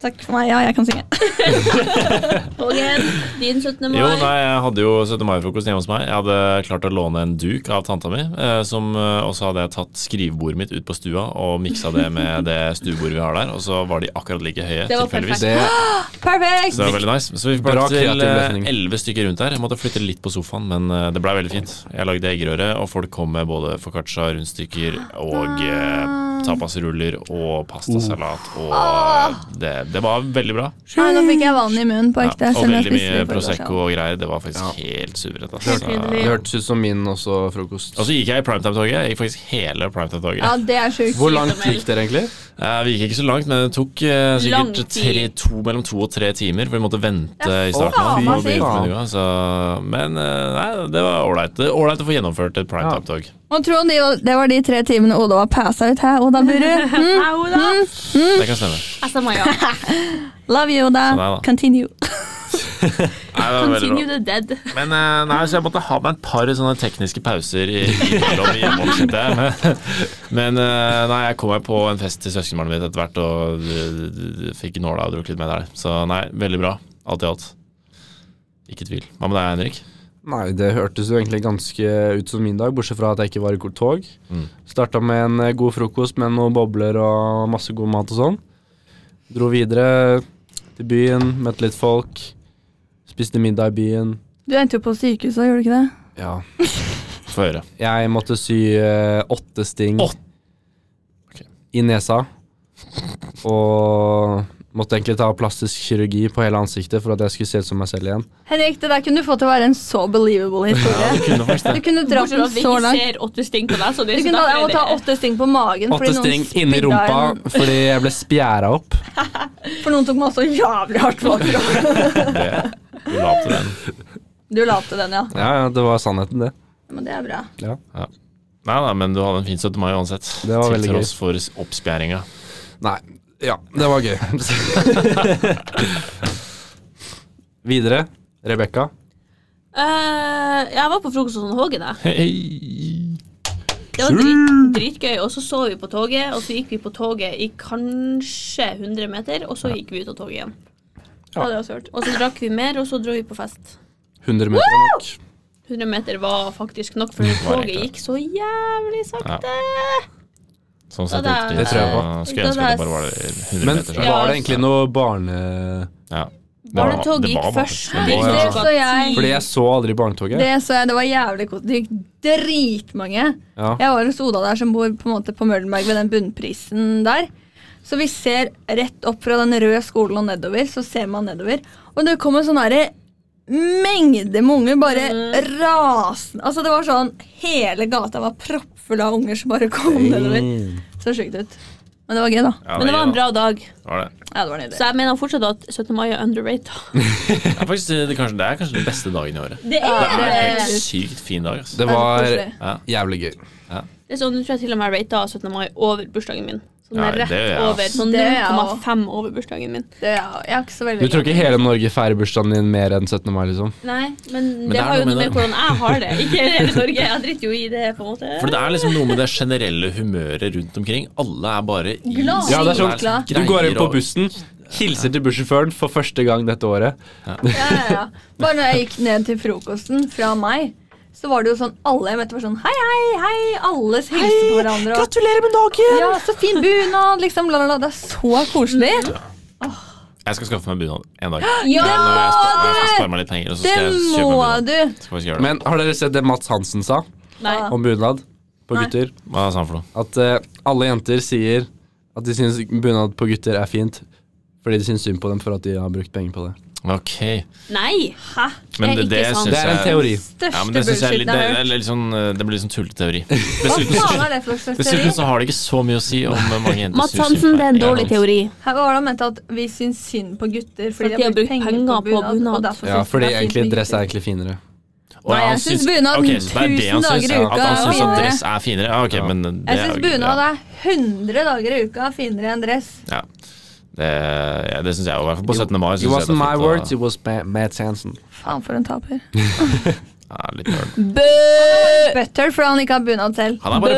Speaker 4: Takk for meg. Ja, jeg kan synge.
Speaker 2: Hågen, din 17. mai.
Speaker 1: Jo, nei, jeg hadde jo 17. mai-frokost hjemme hos meg. Jeg hadde klart å låne en duk av tanta mi. Eh, som, eh, og så hadde jeg tatt skrivebordet mitt ut på stua og miksa det med det stuebordet vi har der. Og så var de akkurat like høye,
Speaker 2: Det var
Speaker 1: tilfeldigvis.
Speaker 3: Det
Speaker 1: Så
Speaker 4: Perfekt!
Speaker 1: det var veldig nice. Så vi fikk
Speaker 3: Bra
Speaker 1: plass til eh,
Speaker 3: kreativ løsning.
Speaker 1: elleve stykker rundt der. Jeg måtte flytte litt på sofaen, men eh, det blei veldig fint. Jeg lagde eggerøre, og folk kom med både foccaccia, rundstykker og eh, tapasruller og pastasalat. Og
Speaker 3: Ah.
Speaker 1: eh, det, det var veldig bra.
Speaker 4: Nei, nå fikk jeg vann i munnen på ekte.
Speaker 1: Ja, og
Speaker 4: selv om jeg
Speaker 1: veldig
Speaker 4: spiste
Speaker 1: mye
Speaker 4: det i forgårs, ja.
Speaker 1: Prosecco og greier. Det var faktisk helt suverent. Altså.
Speaker 2: Helt nydelig.
Speaker 3: det hørtes ut som min også frokost.
Speaker 1: Og så gikk jeg i primetime-toget. Jeg gikk faktisk hele primetime-toget.
Speaker 4: Ja, det er sjukt.
Speaker 3: Hvor langt gikk dere egentlig?
Speaker 1: Eh, Vi gikk ikke så langt, men det tok eh,
Speaker 2: Lang
Speaker 1: sikkert
Speaker 2: tid.
Speaker 1: tre, to, mellom to og tre timer. For vi måtte vente i starten. av,
Speaker 6: faen, hva
Speaker 1: og begynne
Speaker 3: sier
Speaker 1: på menyen, så- Men eh, nei, det var ålreit. Det er Ålreit å få gjennomført et prime
Speaker 3: Ja.
Speaker 1: time-tog.
Speaker 4: Man tror om de, det var de tre timene Oda var passa ut her, Oda Burru. Mm.
Speaker 2: Nei, Oda.
Speaker 1: Det kan stemme.
Speaker 2: Jeg stemmer ja.
Speaker 4: Love you,
Speaker 1: Sånn er
Speaker 4: Oda.
Speaker 1: det.
Speaker 4: Continue.
Speaker 1: Nei, det var veldig bra.
Speaker 2: Continue the dead.
Speaker 1: Men eh, nei, så jeg måtte ha meg et par sånne tekniske pauser i- imellom hjemmeoppsettet. Men, men eh, nei, jeg kom meg på en fest til søskenbarnet mitt etter hvert og d- d- d- fikk nåla og drukket litt med der. Så nei, veldig bra. Alt i alt. Ikke tvil. Hva med deg, Henrik?
Speaker 3: Nei, det hørtes jo egentlig ganske ut som min dag, bortsett fra at jeg ikke var i ko- tog.
Speaker 1: Mm.
Speaker 3: Starta med en eh, god frokost med noen bobler og masse god mat og sånn. Dro videre til byen, møtte litt folk. Spiste middag i byen.
Speaker 4: Du endte jo på sykehuset, gjorde du ikke det?
Speaker 3: Ja.
Speaker 1: Få høre.
Speaker 3: Jeg måtte sy eh, åtte sting
Speaker 1: Åt- Ok.
Speaker 3: i nesa. Og måtte egentlig ta plastisk kirurgi på hele ansiktet for at jeg skulle se ut som meg selv igjen.
Speaker 4: Henrik, det der kunne du få til å være en så believable historie.
Speaker 1: Kunne faktisk
Speaker 4: Du kunne dratt
Speaker 2: Bortsett fra
Speaker 4: den
Speaker 2: at vi
Speaker 4: så
Speaker 2: ikke
Speaker 4: langt.
Speaker 2: ser åtte sting på deg, så det
Speaker 4: Du
Speaker 2: er
Speaker 4: kunne, jeg må ta åtte sting på magen
Speaker 3: Åtte
Speaker 4: fordi noen
Speaker 3: sting inni
Speaker 4: spydda en-
Speaker 3: rumpa fordi jeg ble spjæra opp.
Speaker 4: For noen tok meg også jævlig hardt bakfra.
Speaker 1: det. Du la opp til den.
Speaker 6: Du la opp til den, ja.
Speaker 3: Ja, ja, det var sannheten, det.
Speaker 4: Men det er bra.
Speaker 1: Nei da, men du hadde en fin 17. mai uansett.
Speaker 3: Det var veldig
Speaker 1: Til tross for oppspjæringa.
Speaker 3: Nei. Ja, det var gøy. Videre. Rebekka.
Speaker 2: Eh, jeg var på frokost hos Hågen, jeg.
Speaker 1: Hei.
Speaker 2: Det var drit, dritgøy. Og så så vi på toget, og så gikk vi på toget i kanskje 100 meter, og så gikk vi ut av toget igjen.
Speaker 3: Ja.
Speaker 2: Ja, det var sørt. Og så drakk vi mer, og så dro vi på fest.
Speaker 3: 100 meter er nok.
Speaker 2: 100 meter var faktisk nok, for
Speaker 1: var
Speaker 2: toget
Speaker 1: egentlig det.
Speaker 2: gikk så jævlig sakte.
Speaker 1: Sånn sett
Speaker 2: Det er-
Speaker 1: riktig.
Speaker 3: Det tror jeg på.
Speaker 1: så Skulle jeg ønske
Speaker 2: Det
Speaker 1: det
Speaker 2: er-
Speaker 1: bare var 100
Speaker 3: Men
Speaker 1: meter.
Speaker 3: var det egentlig noe barne...
Speaker 1: Ja.
Speaker 2: Barnetoget
Speaker 1: var
Speaker 2: gikk
Speaker 1: bare-
Speaker 2: først.
Speaker 1: det
Speaker 2: til
Speaker 1: var- altså
Speaker 3: ja.
Speaker 2: klokka
Speaker 4: Så jeg-
Speaker 2: ti.
Speaker 3: Fordi jeg så aldri barnetoget.
Speaker 4: Det så jeg, det var jævlig godt. Det gikk dritmange.
Speaker 3: Ja.
Speaker 4: Jeg var hos Oda der som bor på, en måte på Møllenberg ved den bunnprisen der. Så vi ser rett opp fra den røde skolen og nedover, så ser man nedover. Og det kom en sånn herre mengde med unger, bare
Speaker 3: Mm.
Speaker 4: rasende. Altså det var sånn, Hele gata var proppfull av unger som bare kom nedover. Så sjukt ut. Men det var gøy, da.
Speaker 1: Ja,
Speaker 2: Men det var
Speaker 1: gir
Speaker 2: en
Speaker 1: da.
Speaker 2: bra dag,
Speaker 1: Det var det.
Speaker 4: Ja, det var nydelig.
Speaker 2: så jeg mener fortsatt at 17. mai er underrated.
Speaker 1: Det er faktisk det, er kanskje, det er kanskje den beste dagen i året. Det
Speaker 2: Det er
Speaker 1: er en
Speaker 2: det.
Speaker 1: helt sykt fin dag. Altså.
Speaker 3: Det var
Speaker 4: koselig.
Speaker 3: jævlig gøy.
Speaker 2: Det er sånn, Nå tror jeg til og med jeg rata 17. mai over bursdagen min. Sånn
Speaker 1: Ja, det
Speaker 2: rett
Speaker 1: gjør jeg, ass.
Speaker 2: over. Sånn
Speaker 4: Det gjør jeg
Speaker 2: 0,5 over bursdagen min.
Speaker 4: Det, ja, jeg er ikke så
Speaker 3: Du
Speaker 4: veldig
Speaker 3: tror ikke hele Norge feirer bursdagen din mer enn 17. mai, liksom?
Speaker 2: Nei, men,
Speaker 1: det
Speaker 2: det
Speaker 1: er
Speaker 2: har jo
Speaker 1: noe med
Speaker 2: noe med
Speaker 1: det.
Speaker 2: hvordan jeg har det. Ikke hele Norge. Jeg driter jo i det, på en måte.
Speaker 1: For det er liksom noe med det generelle humøret rundt omkring. Alle er bare i
Speaker 4: Glad.
Speaker 3: Ja, det er
Speaker 1: sånn
Speaker 3: sånn, du går inn på bussen, hilser til bussjåføren for første gang dette året.
Speaker 4: Ja, ja, ja. Bare når jeg gikk ned til frokosten fra meg, så var det jo sånn alle jeg møtte var sånn hei, hei, hei. Alle hilser på hverandre. Og,
Speaker 3: Gratulerer med dagen!
Speaker 4: ja, så fin bunad, liksom. La, la, la. Det er så koselig.
Speaker 1: Mm. Jeg skal skaffe meg bunad en dag.
Speaker 4: Ja,
Speaker 1: Når jeg spar- når jeg skal
Speaker 4: det,
Speaker 1: spare meg litt penger, og så
Speaker 4: det
Speaker 1: skal jeg kjøpe meg
Speaker 4: må
Speaker 1: bunad.
Speaker 4: du.
Speaker 1: Skal faktisk gjøre det.
Speaker 3: Men har dere sett det Mats Hansen sa
Speaker 2: Nei.
Speaker 4: Ja.
Speaker 3: om bunad på
Speaker 4: Nei.
Speaker 3: gutter?
Speaker 1: Hva sa han for noe?
Speaker 3: At eh, alle jenter sier at de syns bunad på gutter er fint fordi de syns synd på dem for at de har brukt penger på det.
Speaker 1: Ok.
Speaker 2: Nei. Hæ?
Speaker 1: Men
Speaker 2: Det er
Speaker 1: det, det
Speaker 2: ikke sant.
Speaker 1: syns
Speaker 3: Det er en
Speaker 1: jeg
Speaker 3: teori.
Speaker 1: Ja,
Speaker 4: Største
Speaker 1: men det synes jeg er litt, det,
Speaker 4: bullshit jeg
Speaker 1: det,
Speaker 4: har hørt.
Speaker 1: er litt sånn, eh, det blir litt sånn tullete teori.
Speaker 4: Hva
Speaker 1: Dessuten,
Speaker 4: faen er det for slags teori?
Speaker 1: dessuten så har det ikke så mye å si om eh, mange jenter
Speaker 2: Mats Hansen, det er en dårlig teori.
Speaker 4: Her var det han mente at vi syns synd på gutter fordi de har brukt penger på bunad. Og derfor
Speaker 3: Ja,
Speaker 4: syns
Speaker 3: fordi
Speaker 4: det er fint
Speaker 3: egentlig
Speaker 4: med
Speaker 3: dress er
Speaker 4: gutter.
Speaker 3: egentlig finere.
Speaker 4: Nei, jeg syns bunad 1000 dager i uka
Speaker 1: At han syns
Speaker 4: er
Speaker 1: at
Speaker 4: finere.
Speaker 1: dress er finere? Ja, ok,
Speaker 3: Ja.
Speaker 1: men det
Speaker 4: Jeg
Speaker 1: er jo
Speaker 4: syns
Speaker 1: ikke-
Speaker 4: bunad
Speaker 1: ja.
Speaker 4: er 100 dager i uka finere enn dress.
Speaker 1: Ja. Det, ja, det syns jeg jo, i hvert fall på 17. mai.
Speaker 3: It
Speaker 1: Synes jeg det er
Speaker 3: wasn't my
Speaker 1: fint å-
Speaker 3: words, it was Ma- Mats Hansen.
Speaker 4: Faen, for en taper.
Speaker 1: Ja, litt nerd.
Speaker 4: Butter fordi han ikke har bunad selv.
Speaker 1: han er bare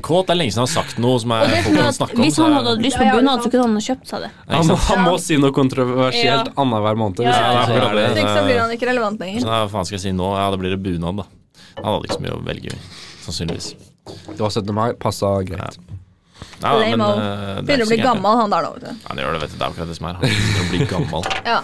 Speaker 1: PR-kåt. Det er lenge siden han har sagt noe som er, folk kan snakke om.
Speaker 2: sånn Hvis
Speaker 1: så
Speaker 2: han
Speaker 1: er-
Speaker 2: hadde hatt lyst
Speaker 4: Ja,
Speaker 2: på
Speaker 4: ja, det er
Speaker 2: bunad, så
Speaker 4: sant.
Speaker 2: kunne han ha kjøpt seg det.
Speaker 1: Nei, ikke
Speaker 3: Han,
Speaker 1: sant?
Speaker 3: han må si noe kontroversielt
Speaker 2: Ja.
Speaker 3: annenhver måned. Hvis
Speaker 1: ja,
Speaker 2: Ja,
Speaker 3: ikke,
Speaker 1: akkurat
Speaker 3: så er det-
Speaker 1: det.
Speaker 4: Hvis ikke så blir han ikke relevant lenger.
Speaker 1: Så hva faen skal jeg si nå? Ja, det blir det bunad, da. Han hadde ikke så mye å velge i, sannsynligvis.
Speaker 3: det var 17. mai, passa greit.
Speaker 1: Ja, men, eh,
Speaker 4: Lame-o.
Speaker 1: det er ikke
Speaker 4: Begynner å bli
Speaker 1: så gærent, det.
Speaker 4: gammel, han der nå, vet du.
Speaker 1: Ja, det gjør det, vet du. Det er akkurat det som er. Han begynner å bli gammel.
Speaker 4: Ja.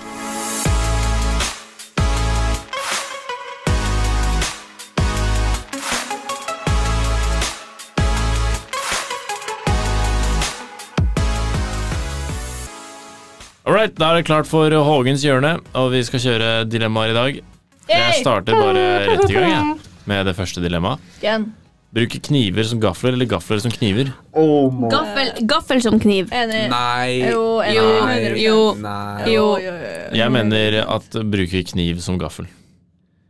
Speaker 1: All right, da er det klart for Hågens hjørne, og vi skal kjøre dilemmaer i dag. Jeg starter bare rett i gang jeg, med det første dilemmaet.
Speaker 4: Igjen.
Speaker 1: Bruke kniver som gafler, eller gafler som kniver?
Speaker 3: Oh my
Speaker 2: Gaffel, gaffel som kniv.
Speaker 4: Enig.
Speaker 3: Nei.
Speaker 4: Eh, Jo, enig.
Speaker 2: Jo,
Speaker 4: Nei.
Speaker 2: jo.
Speaker 3: Nei.
Speaker 4: Jo,
Speaker 2: Jo.
Speaker 4: jo, jo.
Speaker 1: Jeg mener at bruke kniv som gaffel.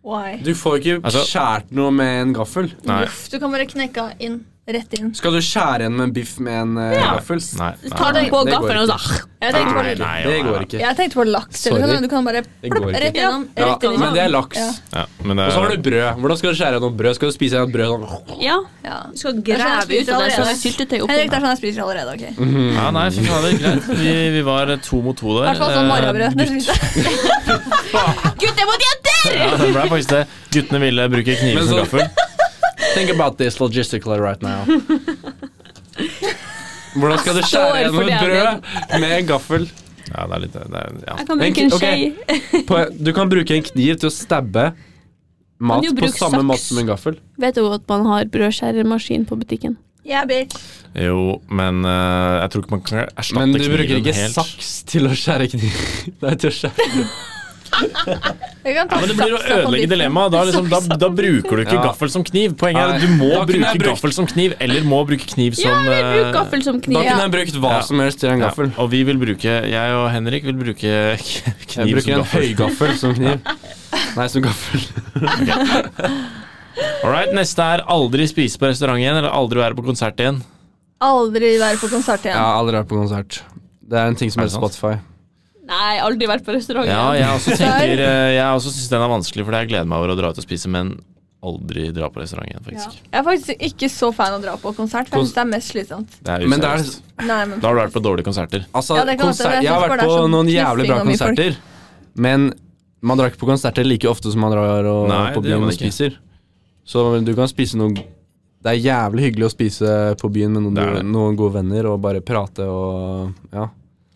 Speaker 4: Why?
Speaker 3: Du får ikke
Speaker 1: Altså-
Speaker 3: skjært noe med en gaffel.
Speaker 1: Nei.
Speaker 4: Uff, du kan bare knekke inn. Rett inn.
Speaker 3: Skal du skjære en med en biff med en eh, gaffel?
Speaker 1: Nei. Nei.
Speaker 2: Ta den på
Speaker 3: Det går
Speaker 2: gaffelen og
Speaker 3: ikke.
Speaker 2: så
Speaker 4: Jeg tenkte
Speaker 1: Nei,
Speaker 4: på,
Speaker 1: nei,
Speaker 3: det
Speaker 1: nei,
Speaker 3: går
Speaker 1: nei.
Speaker 3: ikke.
Speaker 4: jeg tenkte på laks.
Speaker 3: Sorry.
Speaker 4: Eller noe sånt. Du kan bare
Speaker 3: Det
Speaker 4: plopp,
Speaker 3: går ikke.
Speaker 4: rett gjennom.
Speaker 3: Ja,
Speaker 4: Rett inn i
Speaker 2: liksom.
Speaker 3: men det er
Speaker 4: sånn.
Speaker 3: laks.
Speaker 4: Ja.
Speaker 1: Ja, men det
Speaker 3: Og så har
Speaker 1: er,
Speaker 3: du brød. Hvordan skal du skjære noe brød? Skal du spise noe brød sånn?
Speaker 2: Ja.
Speaker 4: Ja.
Speaker 2: Du skal
Speaker 4: Jeg skjønner,
Speaker 2: grave ut av
Speaker 4: jeg
Speaker 2: det
Speaker 4: spiser
Speaker 2: sånn
Speaker 4: allerede.
Speaker 2: syltetøy
Speaker 4: Henrik, det
Speaker 2: oppi.
Speaker 4: er sånn jeg spiser allerede. ok
Speaker 1: ja, nei, fy fader, greit. Vi, vi var to mot to der.
Speaker 4: I hvert fall sånn morgenbrød.
Speaker 1: Eh,
Speaker 4: Det synes jeg.
Speaker 2: Gutter mot jenter!
Speaker 1: Ja, det ble faktisk det. Guttene ville bruke kniver
Speaker 3: Men
Speaker 1: som
Speaker 3: så-
Speaker 1: gaffel.
Speaker 3: Think about this logistically right now. Hvordan skal
Speaker 2: Står
Speaker 3: du
Speaker 2: for
Speaker 3: skjære gjennom
Speaker 2: det,
Speaker 3: et brød med en gaffel?
Speaker 1: Ja, det er litt det er, ja.
Speaker 2: Jeg kan
Speaker 3: Men
Speaker 2: bruke en
Speaker 3: ok,
Speaker 2: skje.
Speaker 3: På, du kan bruke en kniv til å stabbe mat
Speaker 2: Kan jo
Speaker 3: på
Speaker 2: bruke
Speaker 3: samme
Speaker 2: saks.
Speaker 3: måte som en gaffel.
Speaker 2: Vet du at man har brødskjærermaskin på butikken?
Speaker 4: Yeah, bitch.
Speaker 1: Jo, men eh, jeg tror ikke man kan erstatte
Speaker 3: Men du bruker
Speaker 1: kniven
Speaker 3: ikke
Speaker 1: helt.
Speaker 3: saks til å skjære kniv. Nei, til å skjære.
Speaker 4: Vi kan
Speaker 1: Ja,
Speaker 4: ta
Speaker 1: men det blir å
Speaker 4: saksa på
Speaker 1: ødelegge
Speaker 4: biffen.
Speaker 1: dilemmaet. Da, liksom, da, da bruker du ikke
Speaker 3: Ja.
Speaker 1: gaffel som kniv. Poenget er at
Speaker 3: Nei.
Speaker 1: du må
Speaker 3: Da kunne
Speaker 1: bruke
Speaker 3: jeg brukt-
Speaker 1: gaffel som kniv, eller må bruke kniv som
Speaker 2: Ja, jeg vil bruke
Speaker 1: eh,
Speaker 2: gaffel som
Speaker 3: Da
Speaker 2: kniv.
Speaker 3: kunne jeg brukt hva
Speaker 1: Ja.
Speaker 3: som helst til en
Speaker 1: ja.
Speaker 3: gaffel.
Speaker 1: Og vi vil bruke Jeg og Henrik vil bruke k-
Speaker 3: Jeg
Speaker 1: kniv
Speaker 3: bruker
Speaker 1: som
Speaker 3: en
Speaker 1: gaffel.
Speaker 3: høygaffel som kniv. Nei, som gaffel.
Speaker 1: Alright, neste er aldri spise på restaurant igjen, eller aldri være på konsert igjen.
Speaker 4: Aldri være på konsert
Speaker 3: Jeg
Speaker 4: igjen.
Speaker 3: har aldri vært på konsert. Det er en ting som
Speaker 1: Er det
Speaker 3: heter
Speaker 1: sant?
Speaker 3: Spotify.
Speaker 2: Nei, aldri vært på restaurant.
Speaker 1: Ja, jeg også
Speaker 4: tenker,
Speaker 1: tenker eh, Jeg også syns den er vanskelig, for jeg gleder meg over å dra ut og spise, men aldri dra på restaurant igjen, faktisk.
Speaker 4: Jeg er faktisk ikke så fan av å dra på konsert, for jeg synes det er mest slitsomt.
Speaker 1: Det er
Speaker 3: Men det er,
Speaker 1: useriøst.
Speaker 4: Nei, men
Speaker 1: Da har du vært på dårlige konserter.
Speaker 3: altså,
Speaker 4: Ja, det kan godt
Speaker 3: konsert,
Speaker 4: være. Jeg
Speaker 3: jeg har
Speaker 4: synes
Speaker 3: vært
Speaker 4: bare det er
Speaker 3: på
Speaker 4: sånn
Speaker 3: noen jævlig bra
Speaker 4: knuffing av mye
Speaker 3: konserter, men man drar ikke på konserter like ofte som man drar og,
Speaker 1: Nei,
Speaker 3: på
Speaker 1: det gjør
Speaker 3: byen
Speaker 1: man
Speaker 3: og
Speaker 1: ikke.
Speaker 3: spiser. Så du kan spise noe Det er jævlig hyggelig å spise på byen med noen,
Speaker 1: Det er det.
Speaker 3: noen gode venner og bare prate og ja.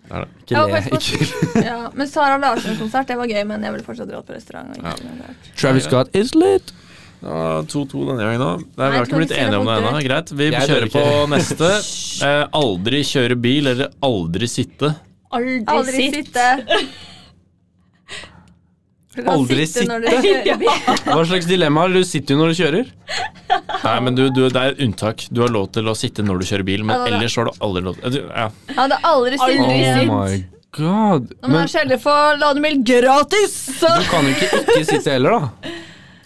Speaker 1: Det er det.
Speaker 3: Ikke
Speaker 4: Ja,
Speaker 3: le.
Speaker 4: faktisk-
Speaker 3: Ikke.
Speaker 4: Ja, men Sara Larsen-konsert, det var gøy, men jeg ville fortsatt dratt på restaurant. Og ikke
Speaker 1: Ja.
Speaker 4: konsert.
Speaker 3: Travis Scott is lit.
Speaker 1: Ja, 2-2 Ah, denne gangen òg. Vi
Speaker 4: Nei,
Speaker 1: har
Speaker 4: jeg
Speaker 1: ikke
Speaker 4: tror
Speaker 1: blitt
Speaker 4: vi
Speaker 1: enige om det
Speaker 4: stiller
Speaker 1: ennå.
Speaker 4: mot
Speaker 1: Greit. Vi
Speaker 3: Jeg
Speaker 1: kjører
Speaker 3: dør
Speaker 1: på
Speaker 3: ikke.
Speaker 1: neste. Eh, aldri kjøre bil eller aldri sitte.
Speaker 2: Aldri,
Speaker 4: Aldri
Speaker 2: sitt.
Speaker 4: sitte. Du kan
Speaker 3: Aldri
Speaker 4: Når du kjører bil.
Speaker 3: Hva slags dilemma har du? Sitter jo når du kjører.
Speaker 1: Nei, men du, du, Det er unntak. Du har lov til å sitte når du kjører bil, men
Speaker 4: Ja, det er det.
Speaker 1: ellers har du aldri lov til du- ja.
Speaker 4: Jeg hadde aldri sittet.
Speaker 2: Aldri
Speaker 3: Oh
Speaker 2: sitt.
Speaker 3: my god.
Speaker 4: Når man
Speaker 3: Men
Speaker 4: skjeller for ladebil gratis, så
Speaker 3: du kan jo ikke ikke sitte heller, da.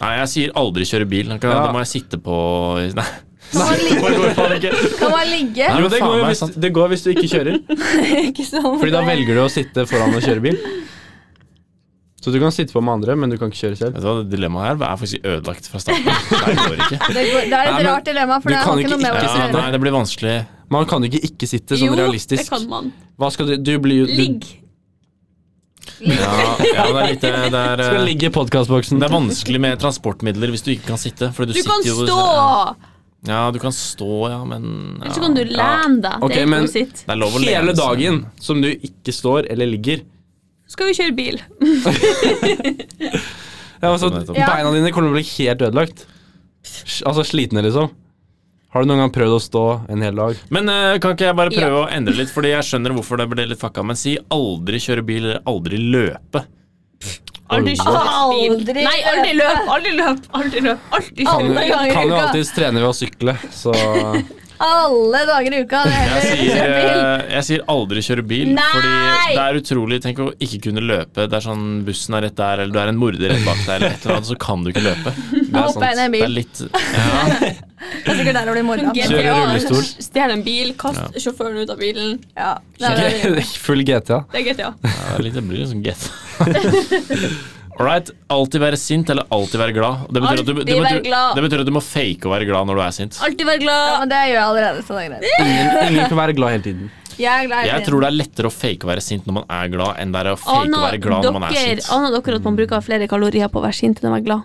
Speaker 1: Nei, jeg sier aldri kjøre bil. Da, kan,
Speaker 3: Ja.
Speaker 1: da må jeg sitte på Nei.
Speaker 4: kan man ligge.
Speaker 1: Det går faen ikke.
Speaker 4: Kan man ligge.
Speaker 1: Nei,
Speaker 3: Jo,
Speaker 1: men
Speaker 3: det
Speaker 1: faen
Speaker 3: går, jo
Speaker 1: meg,
Speaker 3: hvis,
Speaker 1: sant.
Speaker 3: det går hvis du ikke kjører.
Speaker 4: Ikke sånn.
Speaker 3: Fordi da velger du å sitte foran og kjøre bil. Så du kan sitte på med andre, men du kan ikke kjøre selv.
Speaker 1: Vet du hva, det Dilemmaet her er faktisk ødelagt fra starten. Nei, det går ikke.
Speaker 4: Det, går, det er et
Speaker 3: Nei, men
Speaker 4: rart dilemma, for
Speaker 3: du
Speaker 4: det
Speaker 3: kan
Speaker 4: har ikke
Speaker 3: ikke
Speaker 4: noe med
Speaker 3: ikke
Speaker 4: hverandre å
Speaker 1: Ja,
Speaker 3: sitte.
Speaker 4: gjøre.
Speaker 1: nei, det blir vanskelig.
Speaker 3: Man kan jo ikke ikke sitte sånn
Speaker 2: jo, det
Speaker 3: realistisk.
Speaker 2: kan man.
Speaker 3: Hva skal du, du blir jo du,
Speaker 2: Ligg.
Speaker 1: Ja, ja, det er litt det er,
Speaker 3: du skal
Speaker 1: eh,
Speaker 3: ligge i podkastboksen.
Speaker 1: det er vanskelig med transportmidler hvis du ikke kan sitte. For du,
Speaker 2: Du
Speaker 1: sitter
Speaker 2: kan
Speaker 1: jo
Speaker 2: stå!
Speaker 1: Ja, du kan stå, ja, men ja.
Speaker 2: Eller så kan du lene deg.
Speaker 3: Ok,
Speaker 2: Det er ikke
Speaker 3: men-
Speaker 2: noe sitt.
Speaker 1: Det er lov å altså. lene seg.
Speaker 3: Hele dagen som du ikke står eller ligger.
Speaker 2: Skal vi kjøre bil?
Speaker 3: Ja, altså,
Speaker 1: Nettopp.
Speaker 4: Ja.
Speaker 3: beina dine kommer til å bli helt ødelagt. Sj- Altså slitne, liksom. Har du noen gang prøvd å stå en hel dag?
Speaker 1: Men eh, kan ikke jeg bare prøve
Speaker 2: Ja.
Speaker 1: å endre litt, fordi jeg skjønner hvorfor det ble litt fucka, men si aldri kjøre bil eller aldri løpe.
Speaker 2: Aldri
Speaker 3: Oi.
Speaker 2: kjøre bil.
Speaker 4: Aldri
Speaker 2: Nei, aldri løp! Aldri løp! Aldri løp! Aldri
Speaker 3: Kan jo,
Speaker 2: kjøre bil.
Speaker 3: kan jo alltids trene ved å sykle, så
Speaker 4: Alle dager i uka. Det er
Speaker 1: Jeg
Speaker 4: heller
Speaker 1: sier,
Speaker 4: kjøre bil.
Speaker 1: eh, jeg sier aldri kjøre bil,
Speaker 2: Nei!
Speaker 1: fordi det er utrolig. Tenk å ikke kunne løpe. Det er sånn bussen er rett der, eller du er en morder rett bak deg, eller et eller annet, så kan du ikke løpe.
Speaker 3: det er
Speaker 4: Hoppe inn i
Speaker 3: sant.
Speaker 4: en
Speaker 1: Det er
Speaker 4: bil.
Speaker 1: litt ja.
Speaker 4: Det er sikkert der det blir moro.
Speaker 2: GTA,
Speaker 3: Kjøre rullestol.
Speaker 2: Stjel en bil, kast sjåføren ut av bilen.
Speaker 4: Ja, det er det.
Speaker 3: Full GTA.
Speaker 2: Det er GTA.
Speaker 1: Ja, litt, det blir liksom get. All right. Alltid være sint eller alltid være glad. Det betyr, at du, det,
Speaker 2: Alltid være
Speaker 1: betyr,
Speaker 2: glad.
Speaker 1: det betyr at du må fake å være glad når du er sint.
Speaker 2: Alltid være
Speaker 4: Ja,
Speaker 2: glad.
Speaker 4: men det gjør jeg allerede, så det er greit.
Speaker 3: Ingen, ingen kan være glad hele tiden.
Speaker 4: Jeg er glad i
Speaker 1: Jeg
Speaker 4: bilen.
Speaker 1: tror det er lettere å fake å være sint når man er glad, enn det er å fake å være glad når man er
Speaker 2: dere,
Speaker 1: sint.
Speaker 2: aner dere at man bruker flere kalorier på å være sint enn å være glad?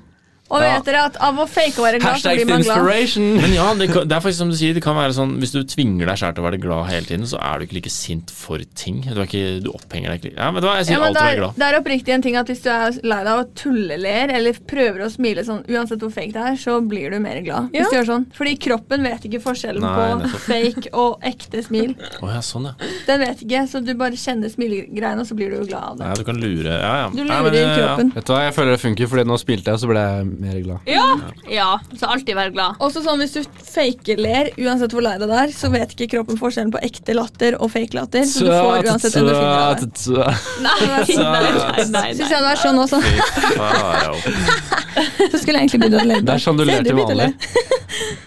Speaker 4: Og vet dere at av å fake å være glad, så
Speaker 3: Hashtag
Speaker 4: blir man glad.
Speaker 3: inspiration.
Speaker 1: Men ja, det, kan- det er faktisk som du sier, det kan være sånn hvis du tvinger deg sjæl til å være glad hele tiden, så er du ikke like sint for ting. Du, er ikke, du opphenger deg ikke like- Ja, vet du hva, jeg
Speaker 4: Ja,
Speaker 1: sier
Speaker 4: men det,
Speaker 1: alltid være
Speaker 4: er,
Speaker 1: glad.
Speaker 4: det er oppriktig en ting at hvis du er lei deg av å tulleler eller prøver å smile sånn, uansett hvor fake det er, så blir du mer glad.
Speaker 2: Ja.
Speaker 4: Hvis du gjør sånn. Fordi kroppen vet ikke forskjellen
Speaker 1: Nei,
Speaker 4: på fake og ekte smil.
Speaker 1: Å ja, sånn, ja.
Speaker 4: Den vet ikke, så du bare kjenner smilegreiene, og så blir du jo glad av det.
Speaker 1: ja. Du kan lure Ja, ja.
Speaker 4: Du
Speaker 1: Nei, men,
Speaker 4: lurer
Speaker 1: eh, ja.
Speaker 4: kroppen.
Speaker 3: Vet du hva, jeg føler det funker, fordi nå spilte jeg, så ble jeg mer glad.
Speaker 2: Ja. ja, så alltid være glad.
Speaker 4: Også sånn Hvis du fake-ler, uansett hvor lei deg det er, så vet ikke kroppen forskjellen på ekte latter og fake latter. Så du får uansett endorfiner av det.
Speaker 2: Nei, nei, nei. nei,
Speaker 4: Syns
Speaker 2: nei.
Speaker 4: jeg det er sånn også.
Speaker 1: Fy farao.
Speaker 4: Så skulle jeg egentlig begynt å le.
Speaker 3: Det er sånn du
Speaker 4: Se,
Speaker 3: ler til
Speaker 4: begynte å le.
Speaker 3: vanlig.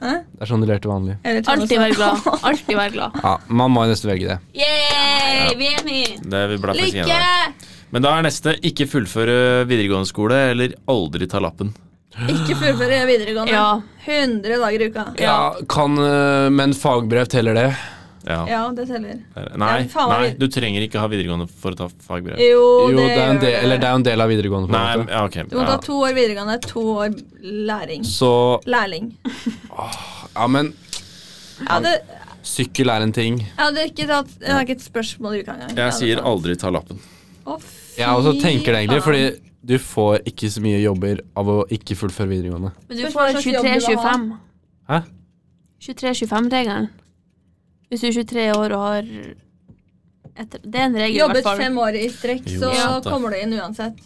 Speaker 3: Det er sånn du ler til vanlig.
Speaker 4: Jeg vet ikke om
Speaker 2: Alltid
Speaker 4: jeg
Speaker 2: være
Speaker 4: sa-
Speaker 2: glad. Alltid være glad.
Speaker 3: Ja, man må jo nesten velge det.
Speaker 2: Yeah, vi er enige.
Speaker 1: Det sånn. vi ble faktisk enige
Speaker 2: Lykke!
Speaker 1: om. Men da er neste ikke fullføre videregående skole eller aldri ta lappen.
Speaker 4: Ikke fullføre videregående.
Speaker 2: Ja.
Speaker 4: 100 dager i uka.
Speaker 3: Ja, kan, øh, men fagbrev teller det.
Speaker 1: Ja.
Speaker 4: Ja, det teller.
Speaker 1: Nei,
Speaker 4: Ja, faen,
Speaker 1: nei,
Speaker 4: vi-
Speaker 1: du trenger ikke ha videregående for å ta fagbrev.
Speaker 4: Jo,
Speaker 3: Jo, det er en
Speaker 4: gjør
Speaker 3: del, eller det er jo en del av videregående. På
Speaker 1: Nei,
Speaker 3: en måte.
Speaker 1: ja, ok.
Speaker 4: Du må ta
Speaker 1: Ja.
Speaker 4: to år videregående, to år læring.
Speaker 3: Så
Speaker 4: Lærling.
Speaker 3: Ja, men
Speaker 4: Jeg hadde,
Speaker 3: sykkel er en ting.
Speaker 4: jeg hadde ikke tatt Jeg har ikke et spørsmål i uka engang.
Speaker 1: Jeg sier aldri ta lappen.
Speaker 3: Jeg også tenker det egentlig, fordi du får ikke så mye jobber av å ikke fullføre videregående.
Speaker 2: Men du
Speaker 4: Spørs hva
Speaker 2: får
Speaker 4: slags jobb du vil ha.
Speaker 2: 23-25.
Speaker 3: Hæ?
Speaker 2: 23-25-regelen. Hvis du er 23 år og har et, Det er en regel, i hvert
Speaker 4: Jobbet
Speaker 2: fall.
Speaker 4: fem år i strekk,
Speaker 1: Jo,
Speaker 4: så
Speaker 1: sant det.
Speaker 4: kommer du inn uansett.